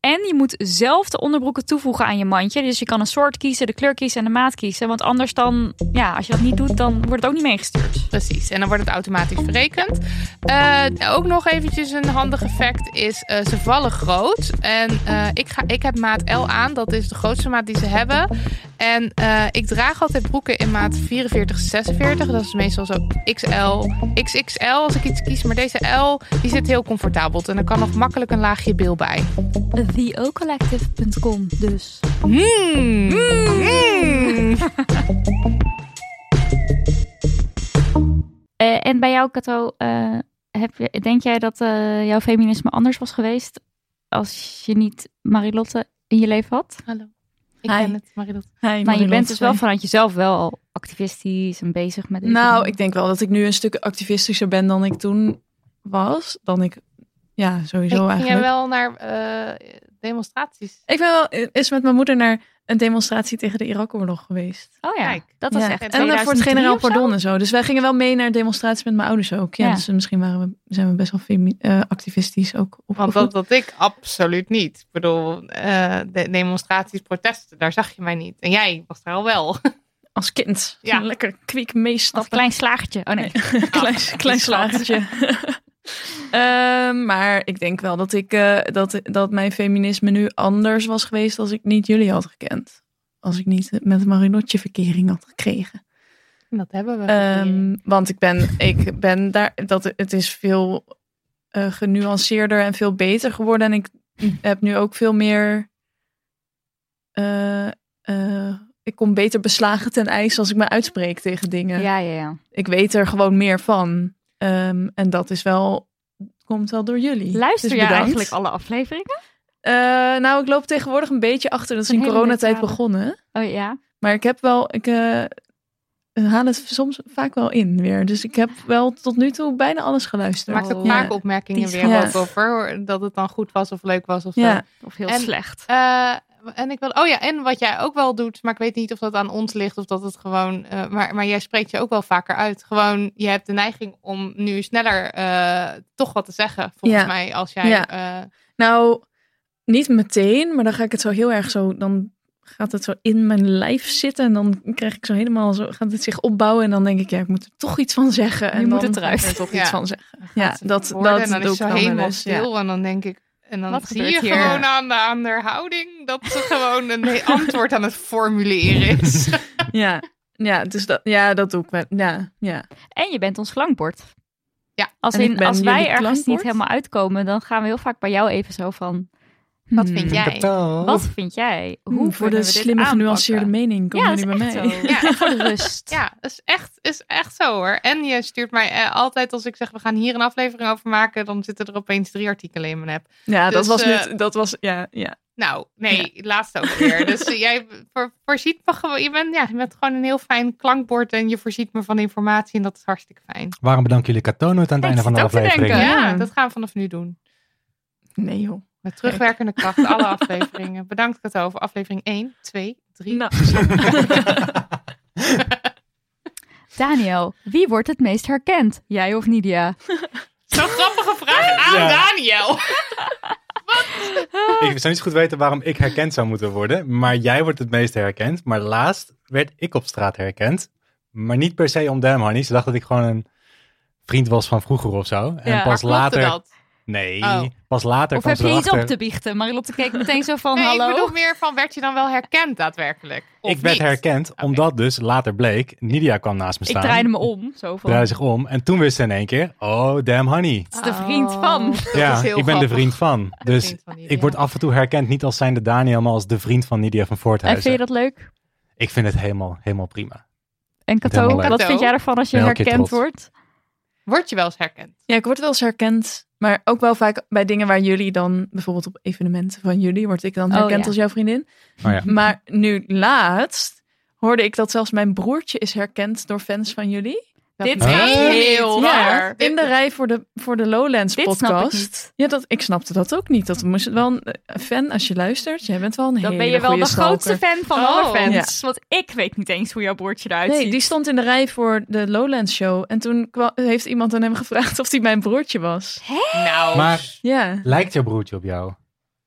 Speaker 3: En je moet zelf de onderbroeken toevoegen aan je mandje. Dus je kan een soort kiezen, de kleur kiezen en de maat kiezen. Want anders dan, ja, als je dat niet doet, dan wordt het ook niet meegestuurd.
Speaker 2: Precies, en dan wordt het automatisch verrekend. Eh, ook nog eventjes een handig effect is, eh, ze vallen groot. En eh, ik, ga, ik heb maat L aan, dat is de grootste maat die ze hebben. En eh, ik draag altijd broeken in maat 44, 46. Dat is meestal zo XL, XXL als ik iets kies. Maar deze L, die zit heel comfortabel. En er kan nog makkelijk een laagje bil bij.
Speaker 3: TheOcollective.com dus.
Speaker 2: Mm.
Speaker 5: Hmm.
Speaker 2: Mm.
Speaker 3: Eh, en bij jou, Kato, eh, heb je, denk jij dat eh, jouw feminisme anders was geweest... als je niet Marilotte in je leven had?
Speaker 2: Hallo, ik
Speaker 5: Hi.
Speaker 2: ben het, Marilotte.
Speaker 3: Maar je bent dus wel vanuit jezelf wel al activistisch en bezig met... deze
Speaker 5: Nou,
Speaker 3: dingen.
Speaker 5: ik denk wel dat ik nu een stuk activistischer ben dan ik toen was. Dan ik, ja, sowieso
Speaker 2: Ik ging
Speaker 5: eigenlijk.
Speaker 2: jij wel naar eh, demonstraties?
Speaker 5: Ik ben wel eens met mijn moeder naar een demonstratie tegen de Irak-oorlog geweest.
Speaker 3: Oh ja,
Speaker 2: Kijk.
Speaker 3: dat was
Speaker 5: Ja.
Speaker 3: echt
Speaker 5: En eh, voor het
Speaker 3: 2003
Speaker 5: generaal
Speaker 3: of zo?
Speaker 5: pardon en zo. Dus wij gingen wel mee naar demonstraties met mijn ouders ook. Ja,
Speaker 3: Ja.
Speaker 5: Dus misschien waren we, zijn we best wel femi- eh, activistisch ook
Speaker 2: Want
Speaker 5: opgevoed.
Speaker 2: dat, dat ik absoluut niet. Ik bedoel, eh, de demonstraties, protesten, daar zag je mij niet. En jij was daar al wel.
Speaker 5: Als kind.
Speaker 2: Ja.
Speaker 5: Lekker kwiek
Speaker 3: Als
Speaker 5: meestappen.
Speaker 3: klein slagertje. Oh nee.
Speaker 5: (laughs) klein, klein slagertje.
Speaker 3: (laughs)
Speaker 5: Ehm, maar ik denk wel dat, ik, eh, dat, dat mijn feminisme nu anders was geweest als ik niet jullie had gekend. Als ik niet met een marinotje verkering had gekregen.
Speaker 2: Dat hebben we.
Speaker 5: Ehm, want ik ben, ik ben daar, dat, het is veel eh, genuanceerder en veel beter geworden. En ik heb nu ook veel meer. eh, eh, ik kom beter beslagen ten ijs als ik me uitspreek tegen dingen
Speaker 3: Ja, ja, ja.
Speaker 5: ik weet er gewoon meer van. Ehm, en dat is wel, komt wel door jullie.
Speaker 3: Luister
Speaker 5: Dus
Speaker 3: jij
Speaker 5: bedankt.
Speaker 3: eigenlijk alle afleveringen?
Speaker 5: Eh, nou, ik loop tegenwoordig een beetje achter. Dat is
Speaker 3: Een
Speaker 5: in
Speaker 3: hele
Speaker 5: coronatijd
Speaker 3: neutrale.
Speaker 5: begonnen.
Speaker 3: Oh ja.
Speaker 5: Maar ik heb wel, ik eh, haal het soms vaak wel in weer. Dus ik heb wel tot nu toe bijna alles
Speaker 2: Je
Speaker 5: geluisterd.
Speaker 2: maakt ook
Speaker 3: Ja.
Speaker 2: vaak opmerkingen
Speaker 5: Die
Speaker 2: weer
Speaker 5: ja.
Speaker 2: ook over. hoor. Dat het dan goed was of leuk was of zo.
Speaker 5: Ja,
Speaker 3: Of heel
Speaker 2: En-
Speaker 3: slecht.
Speaker 2: Eh, en ik wil, oh ja, en wat jij ook wel doet, maar ik weet niet of dat aan ons ligt of dat het gewoon, eh, maar, maar jij spreekt je ook wel vaker uit. Gewoon, je hebt de neiging om nu sneller eh, toch wat te zeggen, volgens
Speaker 5: Ja.
Speaker 2: mij, als jij.
Speaker 5: Ja.
Speaker 2: eh,
Speaker 5: nou, niet meteen, maar dan ga ik het zo heel erg zo, dan gaat het zo in mijn lijf zitten. En dan krijg ik zo helemaal, zo gaat het zich opbouwen. En dan denk ik, ja, ik moet er toch iets van zeggen. En
Speaker 3: moet
Speaker 5: dan
Speaker 3: het eruit.
Speaker 5: ga ik er toch
Speaker 2: Ja.
Speaker 5: iets van zeggen. Ja, dat,
Speaker 2: woorden
Speaker 5: dat
Speaker 2: en dan
Speaker 5: doe
Speaker 2: is
Speaker 5: ik
Speaker 2: ze
Speaker 5: dan wel
Speaker 2: helemaal
Speaker 5: eens, ja.
Speaker 2: stil en dan denk ik en dan
Speaker 3: Wat
Speaker 2: zie je
Speaker 3: gebeurt hier?
Speaker 2: gewoon aan de aan haar houding dat ze gewoon een antwoord aan het formuleren
Speaker 5: (laughs)
Speaker 2: is.
Speaker 5: Ja, ja, dus dat, ja, dat doe ik wel. Ja, ja.
Speaker 3: En je bent ons klankbord.
Speaker 2: Ja.
Speaker 3: Als,
Speaker 5: En ik
Speaker 3: in,
Speaker 5: ben
Speaker 3: als wij
Speaker 5: jullie
Speaker 3: ergens niet
Speaker 5: klankbord?
Speaker 3: helemaal uitkomen, dan gaan we heel vaak bij jou even zo van...
Speaker 2: Wat
Speaker 3: hmm,
Speaker 2: vind jij?
Speaker 3: Wat vind jij? Hoe
Speaker 5: Hoe Hm, voor de slimme, genuanceerde mening
Speaker 3: Ja,
Speaker 5: komen
Speaker 3: dat is
Speaker 5: jullie bij
Speaker 3: echt
Speaker 5: mij.
Speaker 3: zo.
Speaker 2: Ja.
Speaker 3: Ja, (laughs) voor de rust.
Speaker 2: Ja, is echt, is echt zo hoor. En je stuurt mij eh, altijd als ik zeg we gaan hier een aflevering over maken, dan zitten er opeens drie artikelen in mijn app.
Speaker 5: Ja, dat
Speaker 2: Dus,
Speaker 5: was
Speaker 2: eh,
Speaker 5: niet, dat was, ja, ja.
Speaker 2: Nou, nee, laatst ook
Speaker 5: (laughs)
Speaker 2: weer. Dus eh, jij voor, voorziet me gewoon. Je bent, ja, je bent gewoon een heel fijn klankbord en je voorziet me van informatie en dat is harstikke fijn.
Speaker 4: Waarom bedanken jullie Kato nooit aan
Speaker 3: Ik
Speaker 4: het einde van de
Speaker 3: zit ook te
Speaker 4: aflevering?
Speaker 3: denken.
Speaker 2: ja, dat gaan we vanaf nu doen.
Speaker 5: Nee joh.
Speaker 2: Met terugwerkende kracht, (laughs) alle afleveringen. Bedankt Kato voor aflevering 1, 2, 3.
Speaker 5: Nou,
Speaker 2: (laughs)
Speaker 3: Daniel, wie wordt het meest herkend? Jij of Nidia?
Speaker 2: Zo'n grappige vraag aan
Speaker 4: Ja.
Speaker 2: Daniel.
Speaker 4: Ik zou niet zo goed weten waarom ik herkend zou moeten worden. Maar jij wordt het meest herkend. Maar laatst werd ik op straat herkend. Maar niet per se om Damn Honey. Ze dacht dat ik gewoon een vriend was van vroeger of zo. En
Speaker 5: Ja,
Speaker 4: pas
Speaker 2: Maar klopte
Speaker 4: later.
Speaker 2: dat?
Speaker 4: Nee,
Speaker 2: Oh.
Speaker 4: pas later
Speaker 3: Of
Speaker 4: kwam
Speaker 3: heb
Speaker 4: ze
Speaker 3: je iets
Speaker 4: erachter.
Speaker 3: op te biechten? Marilotte keek meteen zo van,
Speaker 2: Nee, ik
Speaker 3: hallo?
Speaker 2: bedoel meer van, werd je dan wel herkend daadwerkelijk? Of
Speaker 4: Ik werd
Speaker 2: niet?
Speaker 4: herkend,
Speaker 2: Oké.
Speaker 4: omdat dus later bleek, Nidia kwam naast me
Speaker 3: Ik
Speaker 4: staan.
Speaker 3: draaide me om. Zo van,
Speaker 4: draaide zich om. En toen wist ze in één keer, oh, damn honey.
Speaker 3: het is de vriend van.
Speaker 4: ja,
Speaker 2: is
Speaker 4: ik
Speaker 2: heel
Speaker 4: ben de
Speaker 2: grappig.
Speaker 4: vriend van. Dus
Speaker 2: vriend van Nidia.
Speaker 4: ik word af en toe herkend niet als zijnde Daniel, maar als de vriend van Nidia
Speaker 3: En
Speaker 4: van
Speaker 3: vind
Speaker 4: Voorthuizen.
Speaker 3: je dat leuk?
Speaker 4: Ik vind het helemaal, helemaal prima.
Speaker 3: En Kato,
Speaker 4: Helemaal
Speaker 3: wat
Speaker 4: leuk.
Speaker 3: vind jij ervan als je
Speaker 4: Ben elke keer
Speaker 3: herkend
Speaker 4: trots.
Speaker 3: wordt?
Speaker 2: Word je wel eens herkend?
Speaker 5: Ja, ik word wel eens herkend. Maar ook wel vaak bij dingen waar jullie dan, bijvoorbeeld op evenementen van jullie, word ik dan
Speaker 3: Oh,
Speaker 5: herkend
Speaker 3: ja.
Speaker 5: als jouw vriendin.
Speaker 4: Oh ja.
Speaker 5: Maar nu laatst hoorde ik dat zelfs mijn broertje is herkend door fans van jullie.
Speaker 2: Dat
Speaker 3: Dit
Speaker 2: meen
Speaker 4: gaat
Speaker 2: je niet,
Speaker 3: heel
Speaker 2: waar?
Speaker 3: ver.
Speaker 2: Dit-
Speaker 5: In de rij voor de, voor de Lowlands
Speaker 3: Dit
Speaker 5: podcast.
Speaker 3: snap ik niet.
Speaker 5: Ja, dat, ik snapte dat ook niet. Dat moest wel een eh, fan als je luistert. Jij bent wel een
Speaker 3: Dan
Speaker 5: hele
Speaker 3: ben je wel
Speaker 5: goede
Speaker 3: de
Speaker 5: stalker.
Speaker 3: grootste fan van
Speaker 2: Oh.
Speaker 3: alle fans. Want ik weet niet eens hoe jouw broertje eruit
Speaker 5: Nee,
Speaker 3: ziet.
Speaker 5: die stond in de rij voor de Lowlands show. En toen kwa- heeft iemand aan hem gevraagd of hij mijn broertje was.
Speaker 2: Nou,
Speaker 4: Maar
Speaker 5: Ja,
Speaker 4: lijkt jouw broertje op jou?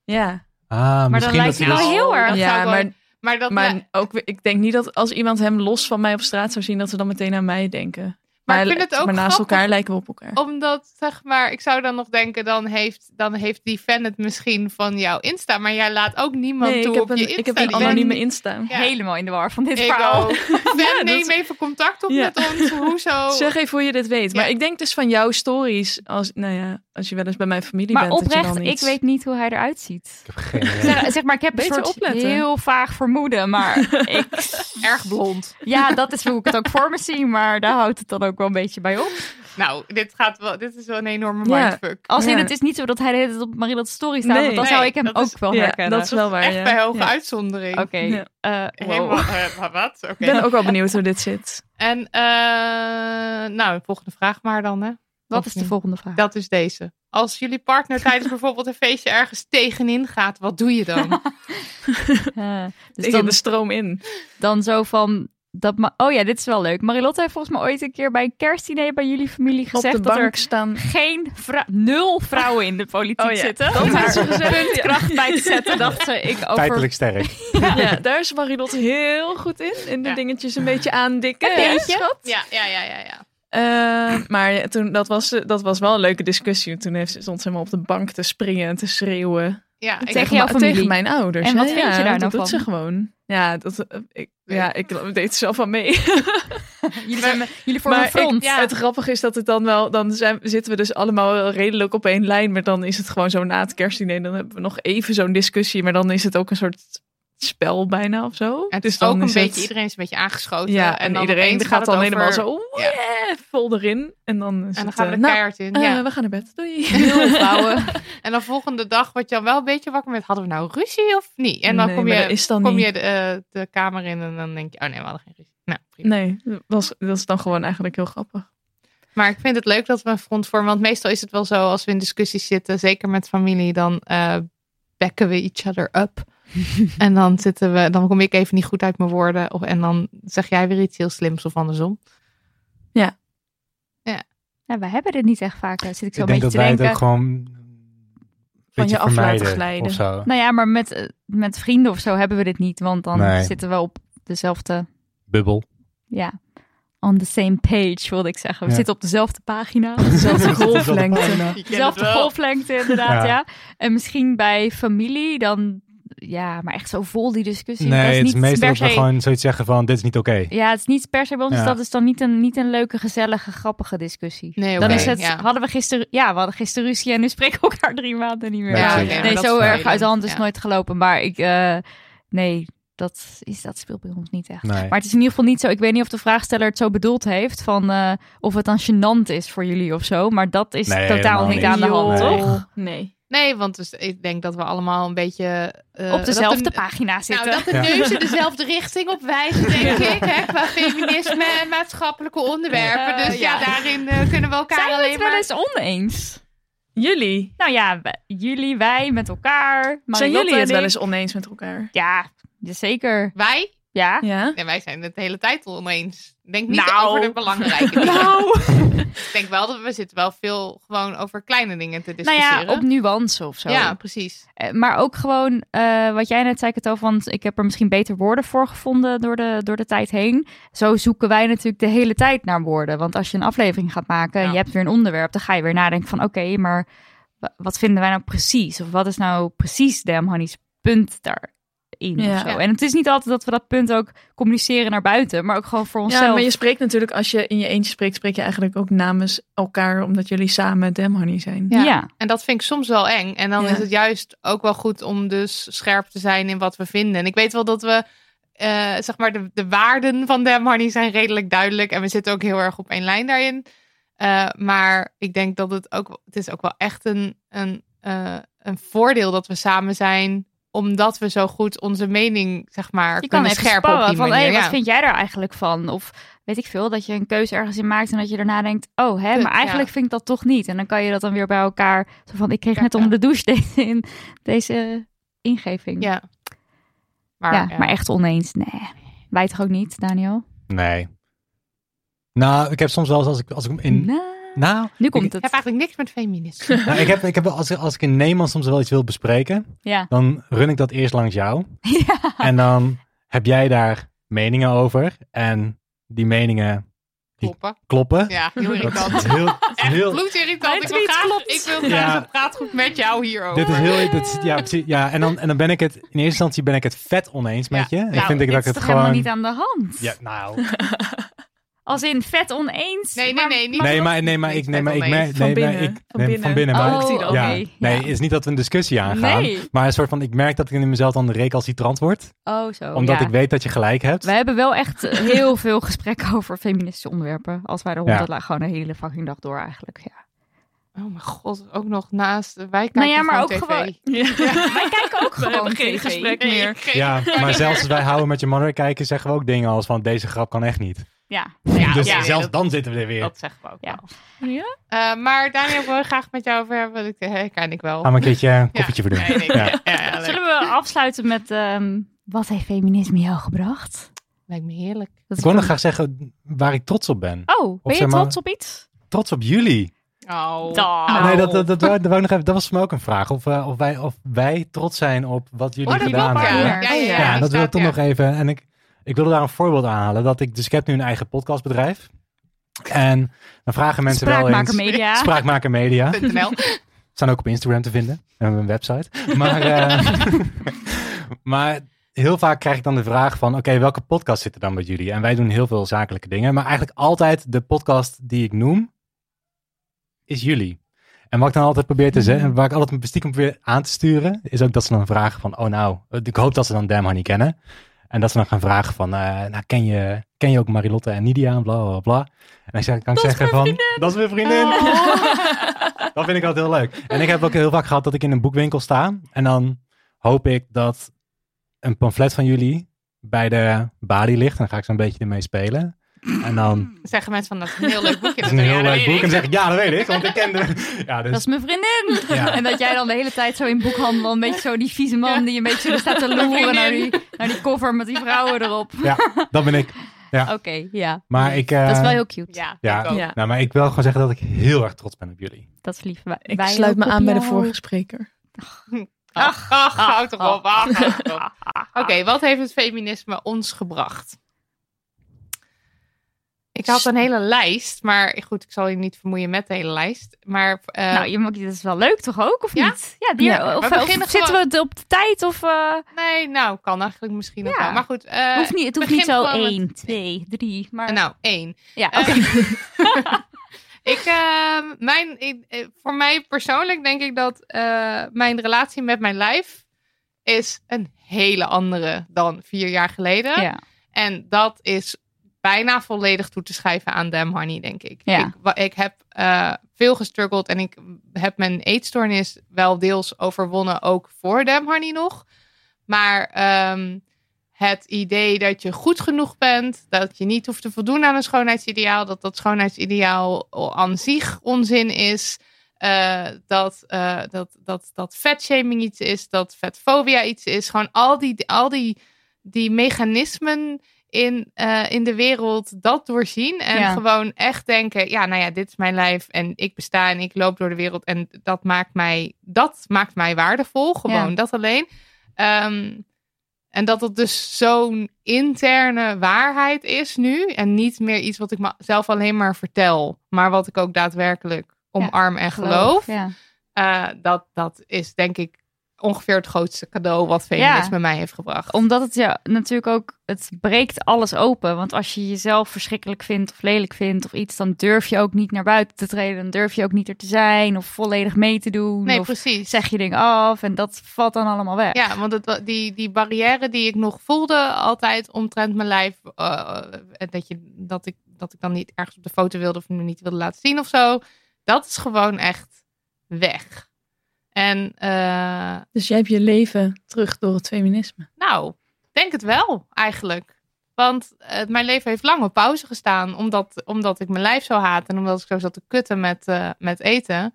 Speaker 5: ja.
Speaker 4: Ah,
Speaker 3: Maar dan
Speaker 4: misschien
Speaker 3: lijkt
Speaker 4: dat
Speaker 3: hij
Speaker 4: hij
Speaker 3: wel
Speaker 4: dus...
Speaker 3: heel erg.
Speaker 2: Dat zou
Speaker 5: ja
Speaker 2: ik wel-
Speaker 5: maar
Speaker 2: maar dat...
Speaker 5: Maar
Speaker 2: maar,
Speaker 5: ook, weer- ik denk niet dat als iemand hem los van mij op straat zou zien, dat ze dan meteen aan mij denken.
Speaker 2: ik vind het ook
Speaker 5: maar naast
Speaker 2: grappig,
Speaker 5: elkaar lijken we op elkaar.
Speaker 2: Omdat, zeg maar, ik zou dan nog denken, dan heeft, dan heeft die fan het misschien van jouw Insta. Maar jij laat ook niemand
Speaker 5: nee,
Speaker 2: toe
Speaker 5: ik
Speaker 2: op
Speaker 5: heb,
Speaker 2: je
Speaker 5: een,
Speaker 2: Insta.
Speaker 5: ik heb een
Speaker 2: Die
Speaker 5: anonieme
Speaker 2: fan-
Speaker 5: Insta.
Speaker 2: Ja.
Speaker 3: Helemaal in de war van dit
Speaker 2: Ik
Speaker 3: verhaal.
Speaker 2: ook. Fan,
Speaker 5: (laughs) Ja,
Speaker 2: neem
Speaker 5: dat-
Speaker 2: even contact op
Speaker 5: Ja.
Speaker 2: met ons. Hoezo?
Speaker 5: (laughs) (laughs) Zeg even hoe je dit weet. Maar
Speaker 2: Ja.
Speaker 5: ik denk dus van jouw stories, als, nou ja, als je wel eens bij mijn familie
Speaker 3: Maar
Speaker 5: bent, dat je
Speaker 3: oprecht,
Speaker 5: dan
Speaker 3: ik
Speaker 5: iets-
Speaker 3: weet niet hoe hij eruit ziet. Eh, (laughs)
Speaker 4: Ik heb geen eh, idee.
Speaker 3: Zeg, zeg maar, ik heb een
Speaker 5: Beter
Speaker 3: soort
Speaker 5: opletten.
Speaker 3: heel vaag vermoeden,
Speaker 5: (laughs)
Speaker 3: maar ik,
Speaker 2: erg blond.
Speaker 3: ja, dat is hoe ik het ook voor me zie, maar daar houdt het dan ook wel een beetje bij op.
Speaker 2: Nou, dit, gaat wel, dit is wel een enorme
Speaker 5: Ja.
Speaker 2: mindfuck.
Speaker 3: Als in,
Speaker 5: Ja.
Speaker 3: het is niet zo dat hij de hele tijd op Marilotte story staat,
Speaker 5: Nee.
Speaker 3: want dan
Speaker 2: Nee,
Speaker 3: zou ik hem
Speaker 2: dat
Speaker 3: ook
Speaker 2: is-
Speaker 3: wel
Speaker 5: Ja,
Speaker 3: herkennen.
Speaker 5: dat is wel waar.
Speaker 2: Echt
Speaker 5: ja.
Speaker 2: bij hoge
Speaker 5: Ja.
Speaker 2: uitzondering.
Speaker 3: Oké,
Speaker 5: Ja.
Speaker 3: eh, wow.
Speaker 2: (laughs) Helemaal, eh, maar wat? Oké.
Speaker 5: (laughs) Ik ben ook wel benieuwd hoe dit zit.
Speaker 2: En, eh, nou, volgende vraag maar dan, hè.
Speaker 3: Wat is de volgende vraag?
Speaker 2: Dat is deze. Als jullie partner tijdens
Speaker 5: (laughs)
Speaker 2: bijvoorbeeld een feestje ergens tegenin gaat, wat doe je dan?
Speaker 3: Eh, dus
Speaker 5: ik heb
Speaker 3: dan,
Speaker 5: de stroom in.
Speaker 3: dan zo van... Dat ma- oh ja, dit is wel leuk. Marilotte heeft volgens mij ooit een keer bij een kerstdiner bij jullie familie
Speaker 5: Op
Speaker 3: gezegd
Speaker 5: de
Speaker 3: dat
Speaker 5: bank
Speaker 3: er (laughs)
Speaker 5: staan.
Speaker 3: geen vrou- nul vrouwen in de politiek
Speaker 5: Oh ja,
Speaker 3: zitten. Om daar zo'n puntkracht bij te zetten, dacht ze. Ik over
Speaker 4: Feitelijk
Speaker 3: (laughs)
Speaker 4: sterk.
Speaker 5: Ja, daar is Marilotte heel goed in. In de
Speaker 2: Ja.
Speaker 5: dingetjes een beetje aandikken.
Speaker 3: Een
Speaker 5: hè,
Speaker 3: beetje.
Speaker 5: schat?
Speaker 2: Ja, ja, ja, ja. ja.
Speaker 5: Eh, maar toen, dat, was, eh, dat was wel een leuke discussie. Toen heeft, stond ze helemaal op de bank te springen en te schreeuwen.
Speaker 2: ja ik,
Speaker 3: Tegen jouw
Speaker 5: Ma-
Speaker 3: familie.
Speaker 5: Tegen mijn ouders.
Speaker 3: En
Speaker 5: hè?
Speaker 3: wat vind
Speaker 5: ja,
Speaker 3: je daar
Speaker 5: dat
Speaker 3: nou
Speaker 5: doet
Speaker 3: van?
Speaker 5: ze gewoon. Ja, dat, eh, ik, ja, ik deed er zelf aan
Speaker 2: (laughs)
Speaker 5: mee.
Speaker 3: Jullie, zijn, jullie vormen
Speaker 5: maar
Speaker 3: een front.
Speaker 5: ik- ja. Het grappige is dat het dan wel... Dan zijn, zitten we dus allemaal wel redelijk op één lijn. Maar dan is het gewoon zo na het kerstdiner. Dan hebben we nog even zo'n discussie. Maar dan is het ook een soort spel bijna of zo.
Speaker 2: het
Speaker 5: Dus
Speaker 2: is ook
Speaker 5: dan
Speaker 2: een
Speaker 5: is
Speaker 2: beetje,
Speaker 5: het-
Speaker 2: iedereen is een beetje aangeschoten.
Speaker 5: Ja, en,
Speaker 2: dan
Speaker 5: iedereen
Speaker 2: opeens
Speaker 5: gaat dan
Speaker 2: het
Speaker 5: helemaal
Speaker 2: over-
Speaker 5: zo... oh,
Speaker 2: Ja.
Speaker 5: yeah, vol erin. En dan is
Speaker 2: En dan
Speaker 5: het,
Speaker 2: gaan we
Speaker 5: eh,
Speaker 2: er
Speaker 5: nou,
Speaker 2: keihard in. ja.
Speaker 5: eh, we gaan naar bed. Doei.
Speaker 3: Nul vrouwen.
Speaker 2: En dan volgende dag word je dan wel een beetje wakker met, hadden we nou ruzie of niet? En dan
Speaker 5: Nee,
Speaker 2: kom
Speaker 5: maar
Speaker 2: je,
Speaker 5: dat is dan
Speaker 2: kom
Speaker 5: niet.
Speaker 2: je de, eh, de kamer in en dan denk je, oh nee, we hadden geen ruzie. Nou, prima.
Speaker 5: (laughs) Nee, dat, was, dat is dan gewoon eigenlijk heel
Speaker 4: (laughs)
Speaker 5: grappig.
Speaker 2: Maar ik vind het leuk dat we een front vormen. Want meestal is het wel zo, als we in discussies zitten, zeker met familie, dan eh bekken we each other
Speaker 5: (laughs)
Speaker 2: up. en dan zitten we, dan kom ik even niet goed uit mijn woorden. Of, en dan zeg jij weer iets heel slims of andersom.
Speaker 3: Nou, we hebben dit niet echt vaak. hè. Zit ik zo
Speaker 4: Ik
Speaker 3: een
Speaker 4: denk
Speaker 3: beetje
Speaker 4: dat
Speaker 3: te
Speaker 4: wij het
Speaker 3: denken.
Speaker 4: ook gewoon een beetje
Speaker 5: je af laten
Speaker 4: vermijden
Speaker 5: glijden.
Speaker 4: Of zo.
Speaker 3: Nou ja, maar met, eh, met vrienden of zo hebben we dit niet. Want dan
Speaker 4: Nee.
Speaker 3: zitten we op dezelfde...
Speaker 4: Bubbel.
Speaker 3: Ja, on the same page, wilde ik zeggen. We
Speaker 4: Ja.
Speaker 3: zitten op dezelfde
Speaker 4: (laughs)
Speaker 3: pagina.
Speaker 5: Zelfde
Speaker 4: pagina.
Speaker 5: golflengte.
Speaker 3: Dezelfde golflengte inderdaad, ja.
Speaker 4: Ja.
Speaker 3: En misschien bij familie dan... Ja, maar echt zo vol die discussie. dat
Speaker 4: Nee,
Speaker 3: is
Speaker 4: het is
Speaker 3: niet
Speaker 4: meestal
Speaker 3: per
Speaker 4: dat we
Speaker 3: se...
Speaker 4: gewoon zoiets zeggen van, dit is niet oké.
Speaker 3: Ja, het is niet per se bij ons. dus
Speaker 4: Ja.
Speaker 3: Dat is dan niet een, niet een leuke, gezellige, grappige discussie.
Speaker 2: Nee,
Speaker 3: Dan
Speaker 2: oké,
Speaker 3: is het,
Speaker 2: ja.
Speaker 3: hadden we gisteren, ja, we hadden gisteren ruzie en nu spreken we elkaar drie maanden niet meer.
Speaker 4: Ja,
Speaker 2: oké,
Speaker 4: nee,
Speaker 2: maar
Speaker 3: nee,
Speaker 2: dat
Speaker 3: zo erg
Speaker 2: is vervelend.
Speaker 3: uit de hand is
Speaker 2: Ja.
Speaker 3: nooit gelopen. Maar ik, eh, nee, dat, is, dat speelt bij ons niet echt.
Speaker 4: Nee.
Speaker 3: Maar het is in ieder geval niet zo, ik weet niet of de vraagsteller het zo bedoeld heeft, van eh, of het dan gênant is voor jullie of zo. Maar dat is
Speaker 4: Nee,
Speaker 3: totaal
Speaker 4: helemaal
Speaker 3: niet
Speaker 4: niet.
Speaker 3: aan de hand,
Speaker 4: Joh.
Speaker 3: toch?
Speaker 5: Nee.
Speaker 2: Nee, want dus, ik denk dat we allemaal een beetje... eh,
Speaker 3: Op dezelfde
Speaker 2: dat de-
Speaker 3: pagina zitten.
Speaker 2: Nou, dat de
Speaker 4: Ja.
Speaker 2: neuzen dezelfde richting op wijzen, denk ik. Hè, qua feminisme en maatschappelijke onderwerpen.
Speaker 3: Eh,
Speaker 2: Dus ja,
Speaker 3: ja.
Speaker 2: daarin eh, kunnen we elkaar
Speaker 3: Zijn we
Speaker 2: alleen
Speaker 3: het wel
Speaker 2: maar...
Speaker 3: eens oneens?
Speaker 5: Jullie.
Speaker 3: Nou ja, we- jullie, wij met elkaar.
Speaker 5: Zijn
Speaker 3: Marilotte
Speaker 5: jullie
Speaker 3: en
Speaker 5: het wel
Speaker 3: ik.
Speaker 5: eens oneens met elkaar?
Speaker 3: Ja, zeker.
Speaker 2: Wij?
Speaker 3: Ja.
Speaker 5: Ja.
Speaker 2: Nee, wij zijn het de hele tijd al oneens. Denk niet
Speaker 5: Nou.
Speaker 2: over de
Speaker 3: (laughs)
Speaker 2: belangrijke dingen.
Speaker 5: Nou.
Speaker 2: Ik denk wel dat we zitten wel veel gewoon over kleine dingen te
Speaker 3: Nou
Speaker 2: discussiëren.
Speaker 3: ja, op nuance of zo.
Speaker 2: Ja, precies.
Speaker 3: Eh, Maar ook gewoon, eh, wat jij net zei, het over, want ik heb er misschien beter woorden voor gevonden door de, door de tijd heen. Zo zoeken wij natuurlijk de hele tijd naar woorden. Want als je een aflevering gaat maken en
Speaker 2: Ja.
Speaker 3: je hebt weer een onderwerp, dan ga je weer nadenken van oké, maar wa- wat vinden wij nou precies? Of wat is nou precies Damn Honey's punt daarin?
Speaker 5: Ja.
Speaker 3: Of zo. En het is niet altijd dat we dat punt ook communiceren naar buiten, maar ook gewoon voor onszelf.
Speaker 5: Ja, maar je spreekt natuurlijk, als je in je eentje spreekt, spreek je eigenlijk ook namens elkaar, omdat jullie samen Dem Honey zijn.
Speaker 2: Ja.
Speaker 3: ja.
Speaker 2: En dat vind ik soms wel eng. En dan
Speaker 5: Ja.
Speaker 2: is het juist ook wel goed om dus scherp te zijn in wat we vinden. En ik weet wel dat we, eh, zeg maar, de, de waarden van Dem Honey zijn redelijk duidelijk. En we zitten ook heel erg op één lijn daarin. Eh, maar ik denk dat het ook, wel- het is ook wel echt een, een, eh, een voordeel dat we samen zijn omdat we zo goed onze mening, zeg maar,
Speaker 3: Je kan
Speaker 2: kunnen
Speaker 3: even
Speaker 2: scherpen op
Speaker 3: sparren
Speaker 2: die
Speaker 3: van,
Speaker 2: manier.
Speaker 3: hey, wat
Speaker 2: ja.
Speaker 3: vind jij daar eigenlijk van? Of weet ik veel, dat je een keuze ergens in maakt en dat je daarna denkt, oh hè,
Speaker 2: Kut,
Speaker 3: maar eigenlijk
Speaker 2: ja.
Speaker 3: vind ik dat toch niet. En dan kan je dat dan weer bij elkaar, zo van, ik kreeg
Speaker 2: Ja,
Speaker 3: net
Speaker 2: ja.
Speaker 3: onder de douche (laughs) deze, in, deze ingeving.
Speaker 2: Ja. Maar,
Speaker 3: Ja,
Speaker 2: ja.
Speaker 3: maar echt oneens, nee. Wij toch ook niet, Daniel?
Speaker 4: Nee. Nou, ik heb soms wel eens als ik, als ik in...
Speaker 3: Nou,
Speaker 4: Nou,
Speaker 3: nu komt
Speaker 2: Ik
Speaker 3: het.
Speaker 2: heb eigenlijk niks met
Speaker 4: (laughs)
Speaker 2: feminisme.
Speaker 4: nou, ik heb, ik heb, wel- als, ik- als ik in Nederland soms wel iets wil bespreken,
Speaker 3: Ja.
Speaker 4: dan run ik dat eerst langs jou.
Speaker 3: (laughs) ja.
Speaker 4: En dan heb jij daar meningen over. En die meningen
Speaker 2: Kloppen.
Speaker 4: kloppen.
Speaker 2: Ja, heel
Speaker 4: Dat is
Speaker 2: irritant.
Speaker 4: heel,
Speaker 3: (laughs)
Speaker 2: Echt
Speaker 4: heel,
Speaker 2: bloedirritant. Ik wil
Speaker 3: tweet
Speaker 2: graag,
Speaker 3: klopt.
Speaker 2: ik wil graag
Speaker 4: Ja.
Speaker 2: een praatgroep met jou hierover.
Speaker 4: Dit is heel, dit, is- ja, precies, ja, en dan, en dan ben ik het, in eerste instantie ben ik het vet oneens met je. En
Speaker 2: nou,
Speaker 4: vind ik
Speaker 3: Dit
Speaker 4: dat ik
Speaker 3: is
Speaker 4: het
Speaker 3: toch
Speaker 4: gewoon,
Speaker 3: helemaal niet aan de hand?
Speaker 4: ja, nou,
Speaker 3: Als in vet oneens?
Speaker 2: Nee, nee,
Speaker 3: maar-
Speaker 2: nee, niet-
Speaker 4: nee, maar, nee, maar ik, nee, maar ik, merk- nee,
Speaker 5: Van
Speaker 4: maar
Speaker 5: binnen.
Speaker 4: ik,
Speaker 5: Van
Speaker 4: nee,
Speaker 5: binnen.
Speaker 4: van binnen, maar
Speaker 3: Oh,
Speaker 5: ik zie
Speaker 3: oké.
Speaker 5: het
Speaker 4: ja, nee,
Speaker 3: Ja.
Speaker 4: is niet dat we een discussie aangaan,
Speaker 3: Nee.
Speaker 4: maar een soort van, ik merk dat ik in mezelf dan recalcitrant word,
Speaker 3: Oh, zo.
Speaker 4: omdat
Speaker 3: ja.
Speaker 4: ik weet dat je gelijk hebt.
Speaker 3: We hebben wel echt heel veel gesprekken over feministische onderwerpen. Als wij de hond
Speaker 4: Ja.
Speaker 3: dat la- gewoon de hele fucking dag door eigenlijk. Ja.
Speaker 2: Oh mijn god, ook nog naast. Wij kijken
Speaker 3: Nou ja, maar ook
Speaker 2: tv.
Speaker 3: gewoon.
Speaker 5: Ja.
Speaker 3: Wij kijken ook
Speaker 5: We
Speaker 3: gewoon
Speaker 5: hebben geen
Speaker 3: tv.
Speaker 5: gesprek
Speaker 2: Nee,
Speaker 5: meer.
Speaker 2: geen-
Speaker 4: Ja, maar zelfs als wij houden met je mannen kijken, zeggen we ook dingen als van, deze grap kan echt niet.
Speaker 3: Ja.
Speaker 2: Nou Ja,
Speaker 4: dus
Speaker 2: ja,
Speaker 4: zelfs
Speaker 2: dat-
Speaker 4: dan zitten we er weer.
Speaker 2: Dat zeggen we ook
Speaker 3: Ja.
Speaker 2: wel.
Speaker 5: Ja?
Speaker 2: Eh, maar Daniel, ik wil graag met jou over hebben. want Ik herken ik wel. (laughs)
Speaker 4: Gaan we een keertje een koffietje voor doen.
Speaker 2: Nee, nee,
Speaker 4: Ah, Ja.
Speaker 2: ja, ja, ja, leuk.
Speaker 3: Zullen we afsluiten met ehm, wat heeft feminisme jou gebracht?
Speaker 2: Lijkt me heerlijk.
Speaker 3: Dat
Speaker 4: Ik
Speaker 3: is
Speaker 4: wil nog
Speaker 3: wel-
Speaker 4: graag zeggen waar ik trots op ben.
Speaker 3: Oh, ben je
Speaker 4: zeg maar-
Speaker 3: trots op iets?
Speaker 4: Trots op jullie.
Speaker 2: Oh.
Speaker 3: Da.
Speaker 4: Nee, dat, dat, dat, wou, dat wou ik nog even, dat was voor mij ook een vraag. Of, eh, of, wij, of wij trots zijn op wat jullie
Speaker 2: Oh, dat
Speaker 4: gedaan
Speaker 2: klopt, ja.
Speaker 4: hebben.
Speaker 2: Ja, ja,
Speaker 3: Ja,
Speaker 2: ja,
Speaker 4: Ja, dat
Speaker 2: staat
Speaker 4: wil ik toch
Speaker 2: er.
Speaker 4: nog even. En ik, ik wilde daar een voorbeeld aan halen. Dat ik, dus ik heb nu een eigen podcastbedrijf. En dan vragen mensen wel eens...
Speaker 3: Spraakmaker Media.
Speaker 4: Spraakmaker Media.
Speaker 2: .nl.
Speaker 4: Staan ook op Instagram te vinden. En we hebben een website. Maar, eh, maar heel vaak krijg ik dan de vraag van... Oké, welke podcast zit er dan bij jullie? En wij doen heel veel zakelijke dingen. Maar eigenlijk altijd de podcast die ik noem... is jullie. En wat ik dan altijd probeer te zeggen... waar ik altijd stiekem probeer aan te sturen... is ook dat ze dan vragen van... Oh nou, ik hoop dat ze dan Damn Honey kennen. En dat ze dan gaan vragen van... eh, nou, ken je, ken je ook Marilotte en Nidia? En bla, bla, bla. En dan zeg, kan ik zeggen van... Dat is mijn vriendin! Oh. Dat vind ik altijd heel leuk. En ik heb ook heel vaak gehad dat ik in een boekwinkel sta. En dan hoop ik dat een pamflet van jullie bij de balie ligt. En dan ga ik zo'n beetje ermee spelen. En dan
Speaker 2: Zeggen mensen van dat is een heel leuk boekje.
Speaker 4: is het een
Speaker 2: Ja,
Speaker 4: heel
Speaker 2: dat weet
Speaker 4: leuk boek. En
Speaker 2: ik.
Speaker 4: zeg ik, ja, dat weet ik. Want ik ken de... (laughs) Ja,
Speaker 3: Dat
Speaker 4: dus
Speaker 3: is mijn vriendin.
Speaker 4: Ja.
Speaker 3: (laughs) En dat jij dan de hele tijd zo in boekhandel, een beetje zo die vieze man die een beetje zo staat te loeren naar die, naar die cover met die vrouwen erop.
Speaker 4: dat ben ik.
Speaker 3: Oké, ja.
Speaker 4: Maar ik... eh,
Speaker 3: Dat is wel heel cute.
Speaker 2: Ja,
Speaker 4: Ja.
Speaker 2: ik ook.
Speaker 5: Ja.
Speaker 4: Nou, maar ik wil gewoon zeggen dat ik heel erg trots ben op jullie.
Speaker 3: Dat is lief. Wij-
Speaker 5: Ik
Speaker 3: wij
Speaker 5: sluit me
Speaker 3: ook op
Speaker 5: aan bij de
Speaker 3: jou.
Speaker 5: vorige spreker.
Speaker 2: Ach, (laughs) ach, hou toch
Speaker 3: ach,
Speaker 2: op. ach, hou toch op. Oké, wat heeft het feminisme ons gebracht? Ik had een hele lijst, maar goed, ik zal je niet vermoeien met de hele lijst. Maar eh,
Speaker 3: nou, je mag, dat is wel leuk toch ook, of
Speaker 2: Ja?
Speaker 3: niet? Ja, die,
Speaker 5: Ja,
Speaker 3: of,
Speaker 2: we
Speaker 3: of
Speaker 2: beginnen
Speaker 3: zitten
Speaker 2: gewoon-
Speaker 3: we het op de tijd? Of, eh,
Speaker 2: nee, nou, kan eigenlijk misschien nog
Speaker 3: Ja.
Speaker 2: wel. Maar goed, eh,
Speaker 3: hoeft niet, het hoeft niet
Speaker 2: begin
Speaker 3: zo
Speaker 2: gewoon met-
Speaker 3: 1, 2, 3. Maar
Speaker 2: nou, één.
Speaker 3: ja,
Speaker 2: eh,
Speaker 3: oké.
Speaker 2: Ik, eh, mijn, ik- eh, voor mij persoonlijk denk ik dat eh, mijn relatie met mijn lijf is een hele andere dan vier jaar geleden.
Speaker 3: ja.
Speaker 2: En dat is bijna volledig toe te schrijven aan Dam Honey, denk ik.
Speaker 3: Ja.
Speaker 2: Ik, wa- ik heb eh, veel gestruggeld en ik heb mijn eetstoornis wel deels overwonnen, ook voor Dam Honey nog. Maar ehm, het idee dat je goed genoeg bent, dat je niet hoeft te voldoen aan een schoonheidsideaal, dat dat schoonheidsideaal aan zich onzin is. eh, dat, eh, dat, dat, dat vetshaming iets is, dat vetfobia iets is. Gewoon al die, al die, die mechanismen in, eh, in de wereld dat doorzien. En
Speaker 3: Ja.
Speaker 2: gewoon echt denken, ja, nou ja, dit is mijn lijf en ik besta en ik loop door de wereld. En dat maakt mij, dat maakt mij waardevol, gewoon
Speaker 3: Ja.
Speaker 2: dat alleen. Ehm, en dat dat dus zo'n interne waarheid is nu. En niet meer iets wat ik zelf alleen maar vertel. Maar wat ik ook daadwerkelijk omarm en geloof.
Speaker 3: Ja.
Speaker 2: Eh, dat, dat is denk ik ongeveer het grootste cadeau wat feminisme mij heeft gebracht.
Speaker 3: Omdat het ja, natuurlijk ook, het breekt alles open. Want als je jezelf verschrikkelijk vindt of lelijk vindt of iets, dan durf je ook niet naar buiten te treden. Dan durf je ook niet er te zijn of volledig mee te doen.
Speaker 2: nee,
Speaker 3: of
Speaker 2: precies.
Speaker 3: zeg je dingen af en dat valt dan allemaal weg.
Speaker 2: Ja, want het, wa- die, die barrière die ik nog voelde altijd omtrent mijn lijf. eh, dat, je, dat, ik, dat ik dan niet ergens op de foto wilde of me niet wilde laten zien of zo. Dat is gewoon echt weg. En eh,
Speaker 5: Dus jij hebt je leven terug door het feminisme.
Speaker 2: Nou, ik denk het wel eigenlijk. Want eh, mijn leven heeft lang op pauze gestaan. Omdat, omdat ik mijn lijf zo haat. En omdat ik zo zat te kutten met, eh, met eten.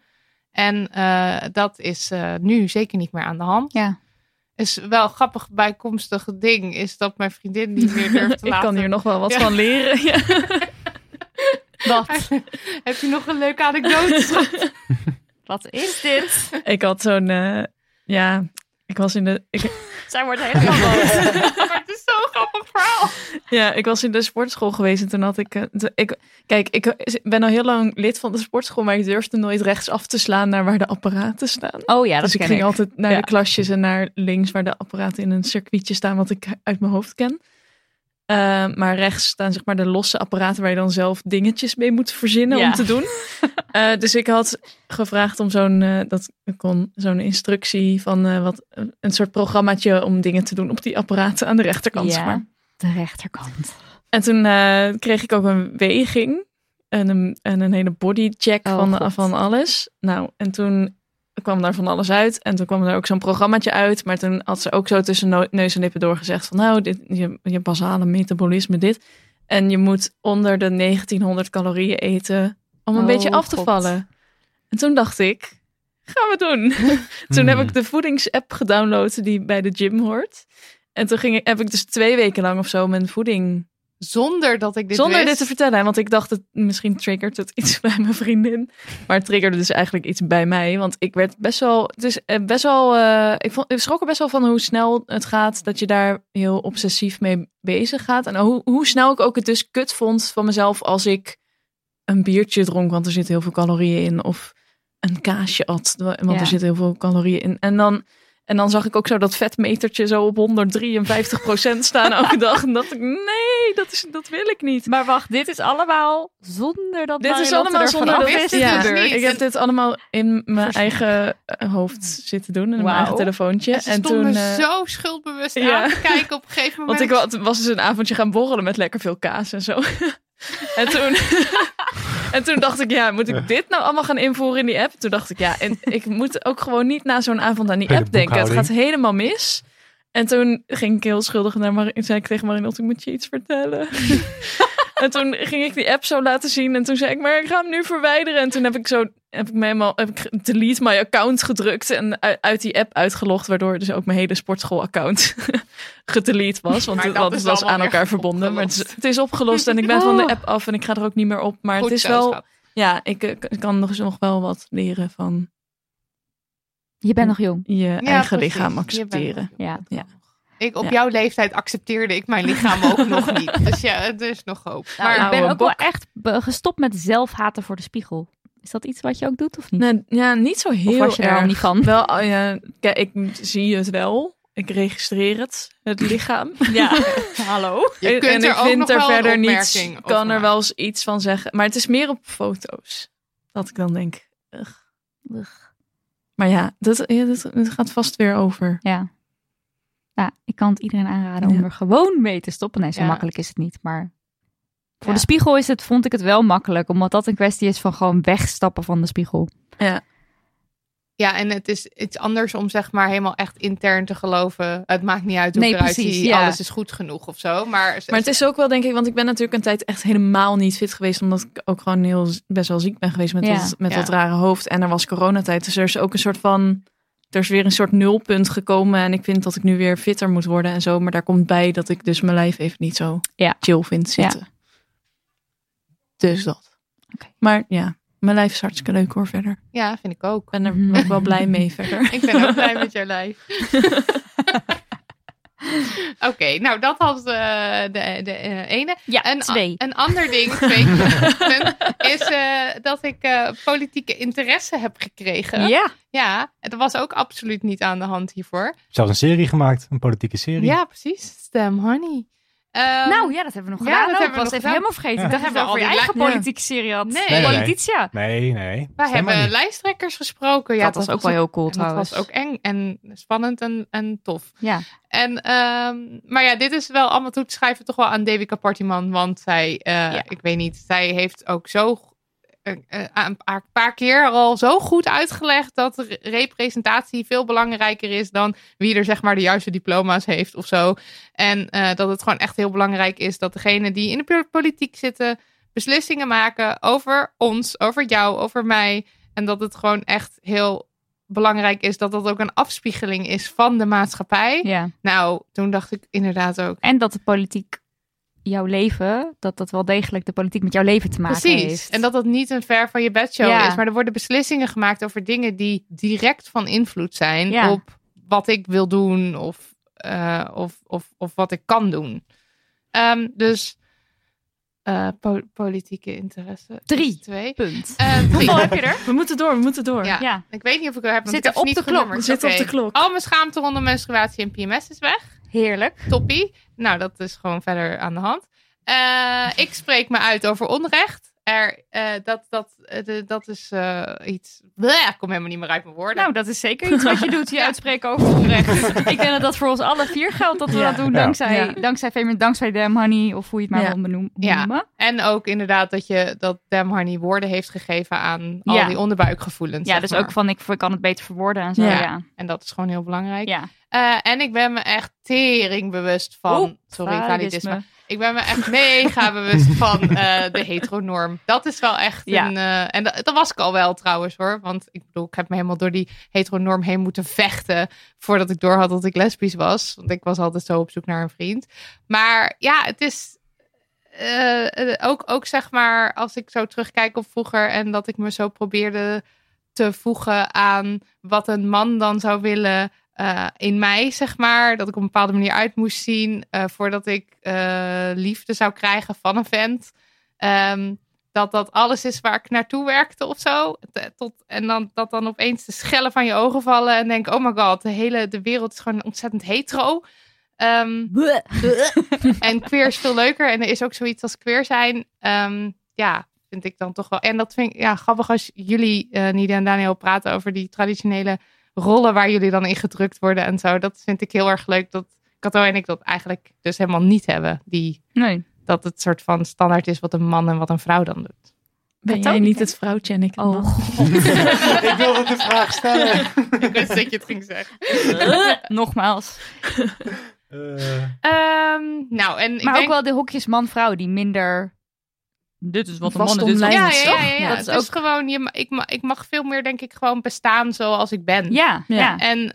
Speaker 2: En eh, dat is eh, nu zeker niet meer aan de hand.
Speaker 3: Ja.
Speaker 2: Is wel grappig bijkomstig ding. Is dat mijn vriendin niet meer durft te
Speaker 5: (laughs) Ik
Speaker 2: laten.
Speaker 5: kan hier nog wel wat
Speaker 2: Ja.
Speaker 5: van leren. Ja.
Speaker 3: Wat,
Speaker 2: (laughs) Heb je nog een leuke anekdote? (laughs)
Speaker 5: (laughs)
Speaker 2: schat?
Speaker 3: (laughs) wat is
Speaker 2: (laughs)
Speaker 3: dit?
Speaker 5: Ik had zo'n... eh, ja, ik was in de... Ik,
Speaker 3: Zij wordt helemaal
Speaker 2: (laughs)
Speaker 3: boos.
Speaker 2: maar het is zo'n grappig verhaal.
Speaker 5: Ja, ik was in de sportschool geweest en toen had ik, eh, t- ik... Kijk, ik eh, ben al heel lang lid van de sportschool, maar ik durfde nooit rechts af te slaan naar waar de apparaten staan.
Speaker 3: Oh ja, dat
Speaker 5: dus ik
Speaker 3: ken
Speaker 5: ging
Speaker 3: ik.
Speaker 5: altijd naar
Speaker 3: Ja.
Speaker 5: de klasjes en naar links waar de apparaten in een circuitje staan, wat ik uit mijn hoofd ken. Eh, maar rechts staan zeg maar de losse apparaten waar je dan zelf dingetjes mee moet verzinnen
Speaker 3: Ja.
Speaker 5: om te doen.
Speaker 3: (laughs)
Speaker 5: Eh, dus ik had gevraagd om zo'n eh, dat kon zo'n instructie van eh, wat een soort programmaatje om dingen te doen op die apparaten aan de rechterkant. Zeg
Speaker 3: Ja.
Speaker 5: maar.
Speaker 3: De rechterkant.
Speaker 5: En toen eh, kreeg ik ook een weging en een, en een hele bodycheck
Speaker 3: Oh,
Speaker 5: van,
Speaker 3: God.
Speaker 5: van alles. Nou, en toen kwam daar van alles uit. En toen kwam er ook zo'n programmaatje uit. Maar toen had ze ook zo tussen no- neus en lippen doorgezegd van... nou, dit, je, je basale metabolisme, dit. En je moet onder de 1900 calorieën eten om een
Speaker 3: Oh,
Speaker 5: beetje af te
Speaker 3: God.
Speaker 5: vallen. En toen dacht ik, gaan we doen. (laughs) Toen heb
Speaker 4: Hmm.
Speaker 5: ik de voedingsapp gedownload die bij de gym hoort. En toen ging ik, heb ik dus twee weken lang of zo mijn voeding...
Speaker 2: Zonder dat ik dit
Speaker 5: zonder
Speaker 2: wist.
Speaker 5: dit te vertellen. hè, Want ik dacht, het, misschien triggert het iets (laughs) bij mijn vriendin. Maar het triggerde dus eigenlijk iets bij mij. Want ik werd best wel... Het is eh, best wel... eh, ik, vond, ik schrok er best wel van hoe snel het gaat. Dat je daar heel obsessief mee bezig gaat. En hoe, hoe snel ik ook het dus kut vond van mezelf als ik een biertje dronk. Want er zitten heel veel calorieën in. Of een kaasje at. Want
Speaker 3: Ja.
Speaker 5: er zitten heel veel calorieën in. En dan... En dan zag ik ook zo dat vetmetertje zo op 153% staan elke dag. En dacht ik, nee, dat, is, dat wil ik niet.
Speaker 3: Maar wacht, dit is allemaal zonder dat
Speaker 5: Dit is
Speaker 3: Marilotte
Speaker 5: allemaal
Speaker 3: er
Speaker 5: zonder
Speaker 3: vanaf
Speaker 5: dat
Speaker 2: af
Speaker 5: ik
Speaker 2: is.
Speaker 5: dit
Speaker 2: Ja.
Speaker 5: gebeurd.
Speaker 2: Niet.
Speaker 5: Ik heb dit allemaal in mijn eigen eh, hoofd zitten doen. In mijn
Speaker 3: Wauw.
Speaker 5: eigen telefoontje.
Speaker 2: En ze stonden
Speaker 5: eh,
Speaker 2: zo schuldbewust
Speaker 5: (laughs) ja.
Speaker 2: aan te kijken op een gegeven moment.
Speaker 5: want ik wa- was dus een avondje gaan borrelen met lekker veel kaas en zo. (laughs) en, toen, (laughs) en toen dacht ik, ja, moet ik dit nou allemaal gaan invoeren in die app? Toen dacht ik, ja,
Speaker 2: (laughs)
Speaker 5: en ik moet ook gewoon niet na zo'n avond aan die
Speaker 4: Hele
Speaker 5: app denken. Het gaat
Speaker 4: boekhouding.
Speaker 5: helemaal mis. En toen ging ik heel schuldig naar Marin. zei ik tegen Marin, ik moet je iets
Speaker 2: (laughs)
Speaker 5: vertellen. en toen ging ik die app zo laten zien. En toen zei ik, maar ik ga hem nu verwijderen. En toen heb ik zo, heb ik me helemaal, heb ik ge- delete my account gedrukt. En uit, uit die app uitgelogd. Waardoor dus ook mijn hele sportschool-account (laughs) gedelete was. Want
Speaker 2: Maar
Speaker 5: het
Speaker 2: dat
Speaker 5: want
Speaker 2: is
Speaker 5: het was
Speaker 2: allemaal
Speaker 5: aan elkaar
Speaker 2: weer
Speaker 5: verbonden. Maar het is,
Speaker 2: opgelost. Oh.
Speaker 5: het is opgelost en ik ben
Speaker 2: (laughs)
Speaker 5: van de app af en ik ga er ook niet meer op. Maar
Speaker 2: Goed
Speaker 5: het is
Speaker 2: zo,
Speaker 5: wel,
Speaker 2: schat.
Speaker 5: ja, ik, eh, k- kan nog, eens nog wel wat leren van
Speaker 3: Je bent nog jong.
Speaker 5: je
Speaker 2: Ja,
Speaker 5: eigen
Speaker 2: precies. Je
Speaker 5: lichaam
Speaker 2: bent-
Speaker 5: accepteren.
Speaker 3: Ja.
Speaker 5: Ja.
Speaker 2: Ik, op
Speaker 5: Ja.
Speaker 2: jouw leeftijd accepteerde ik mijn lichaam ook nog
Speaker 5: (laughs)
Speaker 2: niet. Dus ja, er is nog hoop.
Speaker 3: Maar
Speaker 5: Nou,
Speaker 3: ik ben
Speaker 5: ouwe
Speaker 3: ook wel echt be- gestopt met zelfhaten voor de spiegel. Is dat iets wat je ook doet of niet?
Speaker 5: Nou, ja, niet zo heel
Speaker 3: of was je daar al
Speaker 5: erg.
Speaker 3: niet van?
Speaker 5: Wel, oh ja, kijk, ik zie het wel. Ik registreer het,
Speaker 3: (laughs)
Speaker 5: het lichaam.
Speaker 3: Ja, hallo.
Speaker 2: Je
Speaker 5: En-
Speaker 2: kunt
Speaker 5: en
Speaker 2: er
Speaker 5: ik
Speaker 2: ook
Speaker 5: vind
Speaker 2: nog
Speaker 5: er
Speaker 2: wel een
Speaker 5: verder niets.
Speaker 2: opmerking over
Speaker 5: kan er
Speaker 2: maken.
Speaker 5: wel eens iets van zeggen. Maar het is meer op foto's. Dat ik dan denk. ugh. Maar ja, dat, ja, dat, dat gaat vast weer over.
Speaker 3: Ja. Ja, ik kan het iedereen aanraden om
Speaker 5: Ja.
Speaker 3: er gewoon mee te stoppen. Nee, zo
Speaker 2: Ja.
Speaker 3: makkelijk is het niet, maar... Voor
Speaker 2: Ja.
Speaker 3: de spiegel is het, vond ik het wel makkelijk. Omdat dat een kwestie is van gewoon wegstappen van de spiegel.
Speaker 2: Ja, en het is iets anders om zeg maar helemaal echt intern te geloven. Het maakt niet uit hoe
Speaker 3: Nee,
Speaker 2: ik eruit
Speaker 3: precies,
Speaker 2: zie.
Speaker 3: ja.
Speaker 2: Alles is goed genoeg of zo. Maar,
Speaker 5: Maar het is ook wel, denk ik, want ik ben natuurlijk een tijd echt helemaal niet fit geweest. Omdat ik ook gewoon heel best wel ziek ben geweest met,
Speaker 3: Ja.
Speaker 5: dat, met
Speaker 2: Ja.
Speaker 5: dat rare hoofd. En er was coronatijd. Dus er is ook een soort van er is weer een soort nulpunt gekomen. En ik vind dat ik nu weer fitter moet worden en zo. Maar daar komt bij dat ik dus mijn lijf even niet zo
Speaker 3: Ja.
Speaker 5: chill vind zitten. Dus dat.
Speaker 3: Oké.
Speaker 5: Maar ja, mijn lijf is hartstikke leuk hoor verder. Ik
Speaker 2: Ja, vind ik ook.
Speaker 5: ben er
Speaker 3: Mhm.
Speaker 5: ook wel blij mee verder.
Speaker 2: Ik ben ook blij met jouw
Speaker 5: (laughs)
Speaker 2: lijf. (laughs) Oké, nou dat was eh, de, de eh, ene.
Speaker 3: Ja,
Speaker 2: Een, a-
Speaker 3: twee.
Speaker 2: een ander
Speaker 3: (laughs)
Speaker 2: ding twee, is eh, dat ik eh, politieke interesse heb gekregen.
Speaker 3: Ja,
Speaker 2: Ja, het was ook absoluut niet aan de hand hiervoor.
Speaker 4: Zelfs een serie gemaakt, een politieke serie.
Speaker 2: Ja, precies. Stem Honey. Ehm,
Speaker 3: nou ja, dat hebben we nog
Speaker 2: ja,
Speaker 3: gedaan.
Speaker 2: dat
Speaker 3: ook.
Speaker 2: hebben
Speaker 3: ik was
Speaker 2: we nog
Speaker 3: even
Speaker 2: gedaan.
Speaker 3: helemaal vergeten.
Speaker 4: Ja.
Speaker 3: Dat hebben we
Speaker 2: Al
Speaker 3: over je
Speaker 2: die
Speaker 3: eigen
Speaker 2: la-
Speaker 3: politieke serie had.
Speaker 2: Nee.
Speaker 4: Nee, nee.
Speaker 3: Polititia.
Speaker 4: Nee, nee.
Speaker 2: wij
Speaker 4: Stem maar
Speaker 2: hebben
Speaker 4: niet.
Speaker 2: lijsttrekkers gesproken. Ja,
Speaker 3: dat, was ook wel heel cool
Speaker 2: en dat
Speaker 3: trouwens.
Speaker 2: was ook eng en spannend en, en tof.
Speaker 3: Ja.
Speaker 2: En, ehm, maar ja, dit is wel allemaal toe te schrijven toch wel aan Devika Partiman. Want zij, eh,
Speaker 3: Ja.
Speaker 2: ik weet niet, zij heeft ook zo eh, eh, een paar- paar keer al zo goed uitgelegd dat re- representatie veel belangrijker is dan wie er zeg maar de juiste diploma's heeft of zo. En eh, dat het gewoon echt heel belangrijk is dat degene die in de pol- politiek zitten beslissingen maken over ons, over jou, over mij. En dat het gewoon echt heel belangrijk is dat dat ook een afspiegeling is van de maatschappij.
Speaker 3: ja.
Speaker 2: Nou, toen dacht ik inderdaad ook.
Speaker 3: En dat de politiek jouw leven, dat dat wel degelijk de politiek met jouw leven te maken
Speaker 2: Precies.
Speaker 3: heeft.
Speaker 2: En dat dat niet een ver van je bedshow
Speaker 3: Ja.
Speaker 2: is. Maar er worden beslissingen gemaakt over dingen die direct van invloed zijn
Speaker 3: Ja.
Speaker 2: op wat ik wil doen of, eh, of, of, of wat ik kan doen. Ehm, dus eh, po- politieke interesse.
Speaker 3: Drie.
Speaker 2: Is Twee.
Speaker 3: punt.
Speaker 2: Eh, drie.
Speaker 3: Hoeveel heb je er?
Speaker 5: We moeten door, we moeten door.
Speaker 2: Ja.
Speaker 3: (laughs) Ja,
Speaker 2: Ik weet niet of ik er heb. want
Speaker 3: Zitten
Speaker 2: ik heb ze
Speaker 3: op
Speaker 2: niet
Speaker 3: de klok,
Speaker 2: genummerd.
Speaker 5: zitten op
Speaker 2: Oké.
Speaker 5: de klok.
Speaker 2: Al mijn schaamte rondom menstruatie en PMS is weg.
Speaker 3: heerlijk.
Speaker 2: toppie. Nou, dat is gewoon verder aan de hand. Eh, ik spreek me uit over onrecht. Er, eh, dat, dat, eh, de- dat is eh, iets. Bleh, ik kom helemaal niet meer uit mijn woorden.
Speaker 3: Nou, dat is zeker iets wat je doet, (laughs) je uitspreken over (laughs) onrecht. Ik denk dat dat voor ons alle vier geldt dat we
Speaker 5: Ja.
Speaker 3: dat doen
Speaker 4: Ja.
Speaker 3: dankzij,
Speaker 5: Ja.
Speaker 3: dankzij Fame, dankzij Damn Honey of hoe je het maar
Speaker 5: Ja.
Speaker 3: wil benoem-
Speaker 2: Ja.
Speaker 3: noemen.
Speaker 2: en ook inderdaad dat je dat Dem Harney woorden heeft gegeven aan
Speaker 3: Ja.
Speaker 2: al die onderbuikgevoelens.
Speaker 3: Ja,
Speaker 2: zeg
Speaker 3: dus
Speaker 2: maar.
Speaker 3: ook van ik, ik kan het beter verwoorden en zo.
Speaker 5: Ja.
Speaker 3: Ja,
Speaker 2: En dat is gewoon heel belangrijk.
Speaker 3: ja.
Speaker 2: Eh, en ik ben me echt tering bewust van.
Speaker 3: Oeh,
Speaker 2: sorry, validisme. Ik ben me echt mega bewust van eh, de heteronorm. Dat is wel echt
Speaker 3: Ja.
Speaker 2: een... eh, en dat, dat was ik al wel trouwens hoor. Want ik bedoel, ik heb me helemaal door die heteronorm heen moeten vechten... voordat ik doorhad dat ik lesbisch was. Want ik was altijd zo op zoek naar een vriend. Maar ja, het is... eh, eh, ook, ook zeg maar, als ik zo terugkijk op vroeger... en dat ik me zo probeerde te voegen aan wat een man dan zou willen eh, in mij, zeg maar. Dat ik op een bepaalde manier uit moest zien eh, voordat ik eh, liefde zou krijgen van een vent. Ehm, dat dat alles is waar ik naartoe werkte of zo. T- Tot, en dan, dat dan opeens de schellen van je ogen vallen en denk, oh my god, de hele de wereld is gewoon ontzettend hetero. Ehm, en queer is veel leuker. En er is ook zoiets als queer zijn. Ehm, ja, vind ik dan toch wel. En dat vind ik ja, grappig als jullie, eh Nida en Daniel, praten over die traditionele rollen waar jullie dan in gedrukt worden en zo. Dat vind ik heel erg leuk. Dat Kato en ik dat eigenlijk dus helemaal niet hebben. Die,
Speaker 3: Nee.
Speaker 2: dat het soort van standaard is wat een man en wat een vrouw dan doet.
Speaker 5: Ben
Speaker 3: Katholiek,
Speaker 5: jij niet
Speaker 3: hè?
Speaker 5: het vrouwtje en ik het
Speaker 3: Oh,
Speaker 5: man?
Speaker 3: (laughs)
Speaker 4: Ik wilde de vraag stellen.
Speaker 2: ik wist dat je het ging zeggen.
Speaker 3: (laughs) nogmaals.
Speaker 4: Eh,
Speaker 2: nou, en ik
Speaker 3: Maar
Speaker 2: denk...
Speaker 3: ook wel de hokjes man-vrouw die minder... Dit is wat dus een man
Speaker 5: Vast
Speaker 3: en dit is wat
Speaker 5: omlijnd,
Speaker 3: een
Speaker 2: dus Ja,
Speaker 3: vrouw
Speaker 2: ja,
Speaker 3: is, toch?
Speaker 2: ja, ja, ja.
Speaker 3: Dat
Speaker 2: Het
Speaker 3: is
Speaker 5: dus
Speaker 2: is
Speaker 3: ook...
Speaker 2: gewoon, je, ma- ik, ma- ik mag veel meer, denk ik, gewoon bestaan zoals ik ben.
Speaker 3: Ja, ja.
Speaker 5: Ja.
Speaker 2: En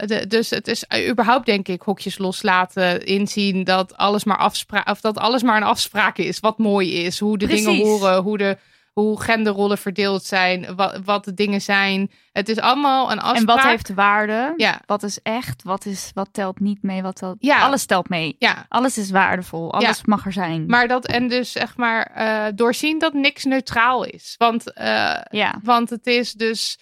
Speaker 2: eh, de- dus het is überhaupt, denk ik, hokjes loslaten. Inzien dat alles maar, afspra of dat alles maar een afspraak is. Wat mooi is. Hoe de dingen
Speaker 3: Precies.
Speaker 2: horen. Hoe, de, hoe genderrollen verdeeld zijn. Wat, wat de dingen zijn. Het is allemaal een afspraak.
Speaker 3: En wat heeft waarde?
Speaker 2: Ja,
Speaker 3: Wat is echt? Wat, is, wat telt niet mee? Wat telt...
Speaker 2: Ja.
Speaker 3: Alles telt mee.
Speaker 2: ja.
Speaker 3: Alles is waardevol. Alles mag er zijn.
Speaker 2: Maar dat, en dus zeg maar, eh, doorzien dat niks neutraal is. Want eh,
Speaker 3: Ja,
Speaker 2: Want het is dus.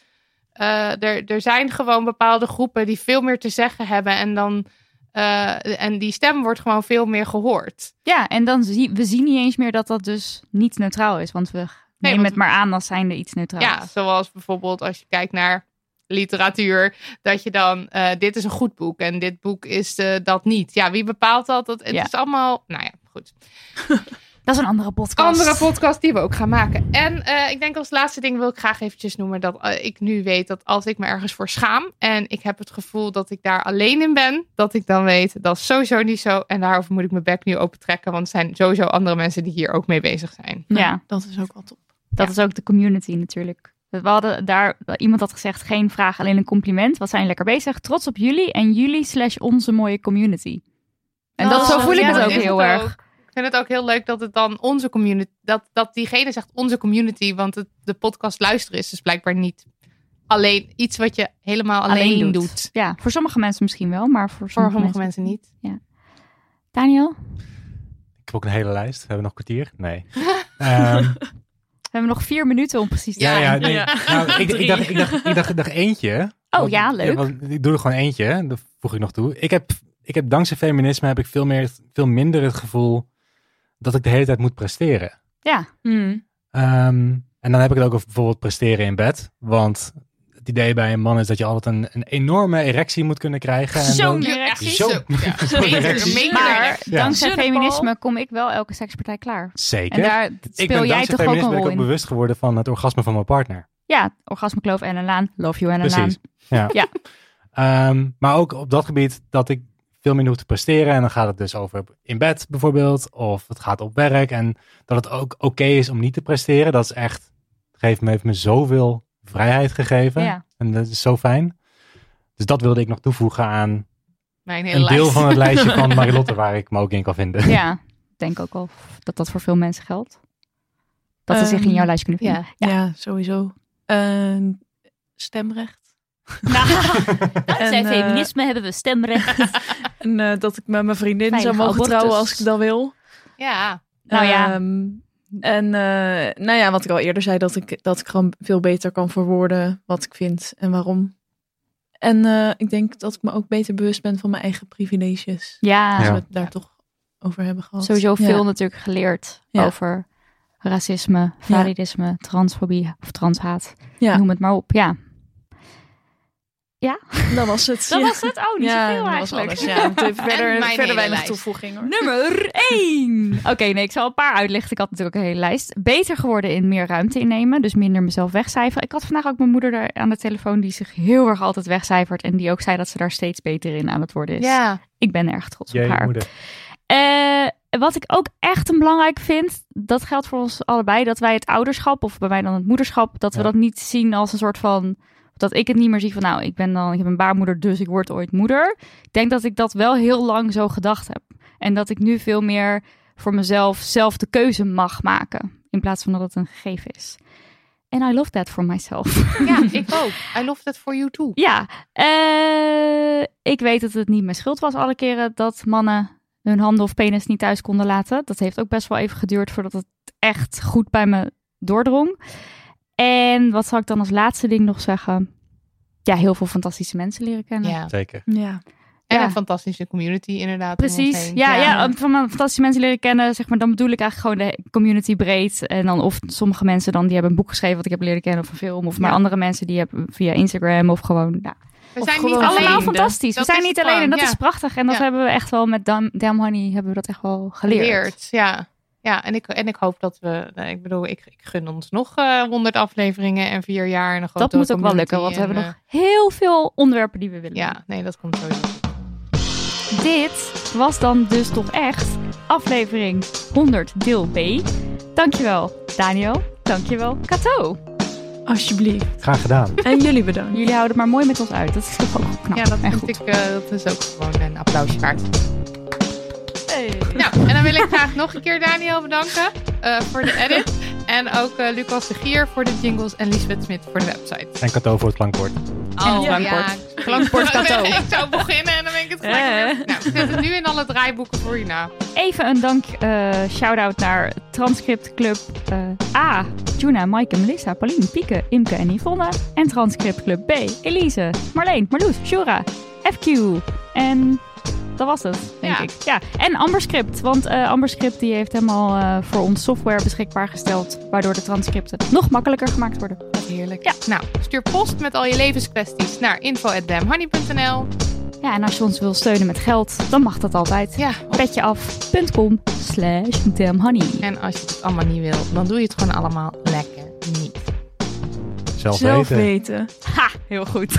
Speaker 2: eh, er, er zijn gewoon bepaalde groepen die veel meer te zeggen hebben. En, dan, eh, en die stem wordt gewoon veel meer gehoord.
Speaker 3: ja en dan zie, we zien niet eens meer dat dat dus niet neutraal is. Want we nemen
Speaker 2: want-
Speaker 3: het maar aan als zijnde iets
Speaker 2: Ja,
Speaker 3: neutraals.
Speaker 2: zoals bijvoorbeeld als je kijkt naar literatuur. Dat je dan. eh, dit is een goed boek en dit boek is eh, dat niet. Ja, wie bepaalt dat? dat het
Speaker 3: Ja.
Speaker 2: is allemaal. Nou ja, goed.
Speaker 3: Dat is een andere podcast.
Speaker 2: Andere podcast die we ook gaan maken. En eh, ik denk als laatste ding wil ik graag eventjes noemen dat eh, ik nu weet dat als ik me ergens voor schaam en ik heb het gevoel dat ik daar alleen in ben, dat ik dan weet dat is sowieso niet zo. En daarover moet ik mijn bek nu open trekken, want er zijn sowieso andere mensen die hier ook mee bezig zijn.
Speaker 3: Ja,
Speaker 5: Dat is ook wel top.
Speaker 3: dat is ook de community natuurlijk. We hadden daar, iemand had gezegd, geen vraag, alleen een compliment. Wat zijn jullie lekker bezig? Trots op jullie en jullie slash onze mooie community. En dat,
Speaker 2: Oh,
Speaker 3: zo voel ik
Speaker 2: ja,
Speaker 3: het
Speaker 2: dat
Speaker 3: ook
Speaker 2: is
Speaker 3: heel
Speaker 2: het
Speaker 3: erg.
Speaker 2: ook. Ik vind het ook heel leuk dat het dan onze community, dat, dat diegene zegt onze community, want het, de podcast luisteren is dus blijkbaar niet alleen iets wat je helemaal alleen, doet.
Speaker 3: Ja, voor sommige mensen misschien wel, maar voor
Speaker 2: Voor
Speaker 3: sommige,
Speaker 2: sommige
Speaker 3: mensen.
Speaker 2: mensen niet.
Speaker 3: Daniel,
Speaker 4: Ik heb ook een hele lijst. Hebben we nog een kwartier?
Speaker 2: (laughs)
Speaker 4: Nee. Ehm,
Speaker 3: we hebben nog vier minuten om precies te
Speaker 4: ja,
Speaker 3: zijn.
Speaker 4: ja, nee.
Speaker 5: Ja.
Speaker 4: Nou, ik, ik,
Speaker 5: Drie.
Speaker 4: dacht, ik, dacht, ik dacht, ik dacht eentje.
Speaker 3: Oh
Speaker 4: Want-
Speaker 3: ja, leuk.
Speaker 4: want ik doe er gewoon eentje. Dat voeg ik nog toe. Ik heb, ik heb dankzij feminisme heb ik veel, meer, veel minder het gevoel dat ik de hele tijd moet presteren.
Speaker 3: Ja.
Speaker 5: Mm.
Speaker 4: Ehm, en dan heb ik het ook over bijvoorbeeld presteren in bed. Want het idee bij een man is dat je altijd een, een enorme erectie moet kunnen krijgen. En
Speaker 3: Zo'n
Speaker 4: dan-
Speaker 3: erectie.
Speaker 4: Zo.
Speaker 2: Ja.
Speaker 4: (laughs) erectie.
Speaker 2: Mega- mega
Speaker 3: Maar
Speaker 2: erectie.
Speaker 4: Ja.
Speaker 3: dankzij
Speaker 5: Zonnepaal.
Speaker 3: feminisme kom ik wel elke sekspartij klaar.
Speaker 4: Zeker.
Speaker 3: En daar
Speaker 4: ik
Speaker 3: speel
Speaker 4: ben
Speaker 3: jij
Speaker 4: dankzij
Speaker 3: toch ook
Speaker 4: feminisme
Speaker 3: een
Speaker 4: ben ik
Speaker 3: rol
Speaker 4: ook
Speaker 3: in.
Speaker 4: bewust geworden van het orgasme van mijn partner.
Speaker 3: Ja, orgasmekloof en een laan. Love you en een laan.
Speaker 4: Precies. Ja.
Speaker 3: Ja.
Speaker 4: Ehm, maar ook op dat gebied dat ik veel minder hoef te presteren. En dan gaat het dus over in bed bijvoorbeeld. Of het gaat op werk. En dat het ook oké is om niet te presteren. Dat is echt, het heeft me, heeft me zoveel vrijheid gegeven.
Speaker 3: Ja.
Speaker 4: En dat is zo fijn. Dus dat wilde ik nog toevoegen aan
Speaker 2: Mijn
Speaker 4: een
Speaker 2: hele
Speaker 4: deel
Speaker 2: lijst.
Speaker 4: van het
Speaker 2: (laughs)
Speaker 4: lijstje
Speaker 3: (laughs)
Speaker 4: van Marilotte waar ik me ook in kan vinden.
Speaker 3: Ja, ik denk ook wel dat dat voor veel mensen geldt. Dat ze zich in
Speaker 5: Ehm,
Speaker 3: jouw lijst kunnen vinden.
Speaker 5: Ja, sowieso. Ehm, stemrecht.
Speaker 3: (laughs) Nou, dankzij
Speaker 5: En, eh,
Speaker 3: hebben we stemrecht.
Speaker 5: En eh, dat ik met mijn vriendin zou
Speaker 3: Veilige
Speaker 5: mogen
Speaker 3: abortus.
Speaker 5: trouwen als ik dat wil.
Speaker 2: Ja.
Speaker 3: Nou ja.
Speaker 5: Ehm, en eh, nou ja, wat ik al eerder zei, dat ik, dat ik gewoon veel beter kan verwoorden wat ik vind en waarom. En eh, ik denk dat ik me ook beter bewust ben van mijn eigen privileges.
Speaker 3: (laughs) ja,
Speaker 5: Als
Speaker 4: Ja.
Speaker 5: we het daar toch over hebben gehad.
Speaker 3: sowieso
Speaker 5: Ja.
Speaker 3: veel natuurlijk geleerd
Speaker 5: Ja.
Speaker 3: over racisme, validisme, transfobie of transhaat.
Speaker 5: Ja.
Speaker 3: Noem het maar op, ja.
Speaker 5: (laughs) Dat was het.
Speaker 3: Dat
Speaker 5: Ja.
Speaker 3: was het. Oh, niet
Speaker 5: ja,
Speaker 3: zoveel
Speaker 5: dat was
Speaker 3: eigenlijk.
Speaker 5: alles,
Speaker 3: (laughs)
Speaker 5: ja. Want er
Speaker 2: mijn
Speaker 5: Verder,
Speaker 2: hele
Speaker 5: verder weinig
Speaker 2: lijst.
Speaker 5: toevoeging hoor.
Speaker 3: Nummer 1. Oké, nee, ik zal een paar uitlichten. Ik had natuurlijk een hele lijst. Beter geworden in meer ruimte innemen, dus minder mezelf wegcijferen. Ik had vandaag ook mijn moeder daar aan de telefoon die zich heel erg altijd wegcijfert. En die ook zei dat ze daar steeds beter in aan het worden is.
Speaker 2: Ja.
Speaker 3: Ik ben erg trots op
Speaker 4: Jee,
Speaker 3: haar.
Speaker 4: moeder.
Speaker 3: Eh, wat ik ook echt een belangrijk vind, dat geldt voor ons allebei, dat wij het ouderschap, of bij mij dan het moederschap, dat we
Speaker 4: Ja.
Speaker 3: dat niet zien als een soort van. Dat ik het niet meer zie van, nou, ik ben dan, ik heb een baarmoeder, dus ik word ooit moeder. Ik denk dat ik dat wel heel lang zo gedacht heb. En dat ik nu veel meer voor mezelf zelf de keuze mag maken, in plaats van dat het een gegeven is. En I love that for myself.
Speaker 2: ja, ik ook. I love that for you too.
Speaker 3: Ja, eh, ik weet dat het niet mijn schuld was alle keren dat mannen hun handen of penis niet thuis konden laten. Dat heeft ook best wel even geduurd voordat het echt goed bij me doordrong. En wat zal ik dan als laatste ding nog zeggen? Ja, heel veel fantastische mensen leren kennen.
Speaker 2: Ja.
Speaker 4: Zeker.
Speaker 5: Ja.
Speaker 2: En
Speaker 3: Ja.
Speaker 2: een fantastische community inderdaad. om ons
Speaker 3: Precies,
Speaker 2: heen.
Speaker 3: ja, ja. van mijn fantastische mensen leren kennen, zeg maar, dan bedoel ik eigenlijk gewoon de community breed. En dan of sommige mensen dan, die hebben een boek geschreven wat ik heb leren kennen of een film. Of maar
Speaker 2: Ja.
Speaker 3: andere mensen die hebben via Instagram of gewoon, nou, ja,
Speaker 2: We
Speaker 5: Of
Speaker 2: zijn niet
Speaker 5: gewoon
Speaker 2: alleen.
Speaker 3: allemaal
Speaker 5: Alleen,
Speaker 3: fantastisch.
Speaker 2: dat
Speaker 3: we zijn
Speaker 2: is
Speaker 3: niet
Speaker 2: het
Speaker 3: alleen en dat
Speaker 2: gewoon,
Speaker 3: is
Speaker 2: ja.
Speaker 3: prachtig. En dat
Speaker 2: Ja.
Speaker 3: hebben we echt wel met Dam, Dam Honey hebben we dat echt wel geleerd.
Speaker 2: geleerd. Ja, ja en, ik, en ik hoop dat we. nou, ik bedoel, ik, ik gun ons nog eh, honderd afleveringen en vier jaar. En een
Speaker 3: Dat
Speaker 2: grote
Speaker 3: moet ook wel
Speaker 2: community
Speaker 3: lukken, want we
Speaker 2: en,
Speaker 3: hebben nog
Speaker 2: eh,
Speaker 3: heel veel onderwerpen die we willen.
Speaker 2: Ja, nee, dat komt sowieso.
Speaker 3: doen. Dit was dan dus toch echt aflevering 100 deel B. Dankjewel Daniel, dankjewel Kato.
Speaker 5: Alsjeblieft.
Speaker 4: Graag gedaan.
Speaker 5: En jullie bedankt.
Speaker 3: Jullie houden het maar mooi met ons uit. Dat is toch ook knap
Speaker 2: Ja, dat
Speaker 3: en
Speaker 2: vind
Speaker 3: goed.
Speaker 2: ik. eh, dat is ook gewoon een applausje waard.
Speaker 3: Hey.
Speaker 2: Nou, en dan wil ik graag nog een keer Daniel bedanken eh, voor de edit. En ook eh, Lucas de Gier voor de jingles en Liesbeth Smit voor de website.
Speaker 4: En Kato voor het klankwoord.
Speaker 3: En het
Speaker 2: Ja,
Speaker 3: klankbord. Klankbord cadeau.
Speaker 2: (laughs) Ik zou beginnen en dan ben ik het gelijk
Speaker 5: Eh.
Speaker 2: weer- Nou, ik zet het nu in alle draaiboeken voor je na.
Speaker 3: Even een dank eh shout-out naar Transcript Club eh, A. Juna, Maaike, Melissa, Pauline, Pieke, Imke en Yvonne. En Transcript Club B. Elise, Marleen, Marloes, Shura, FQ. En dat was het, denk
Speaker 2: Ja.
Speaker 3: ik. Ja. En Amberscript, want eh, Amberscript die heeft helemaal eh, voor ons software beschikbaar gesteld. Waardoor de transcripten nog makkelijker gemaakt worden.
Speaker 2: Heerlijk. Ja. Nou, stuur post met al je levenskwesties naar info.damhoney.nl.
Speaker 3: Ja, en als je ons wil steunen met geld, dan mag dat altijd.
Speaker 2: Ja,
Speaker 3: Petjeaf.com slash damnhoney.
Speaker 2: en als je het allemaal niet wil, dan doe je het gewoon allemaal lekker niet.
Speaker 4: Zelf,
Speaker 5: Zelf
Speaker 4: weten.
Speaker 5: weten.
Speaker 3: Ha, heel goed.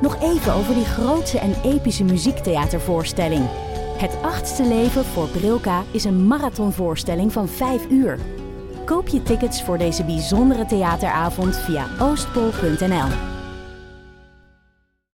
Speaker 1: Nog even over die grootse en epische muziektheatervoorstelling. Het achtste leven voor Brilka is een marathonvoorstelling van 5 uur. Koop je tickets voor deze bijzondere theateravond via oostpol.nl.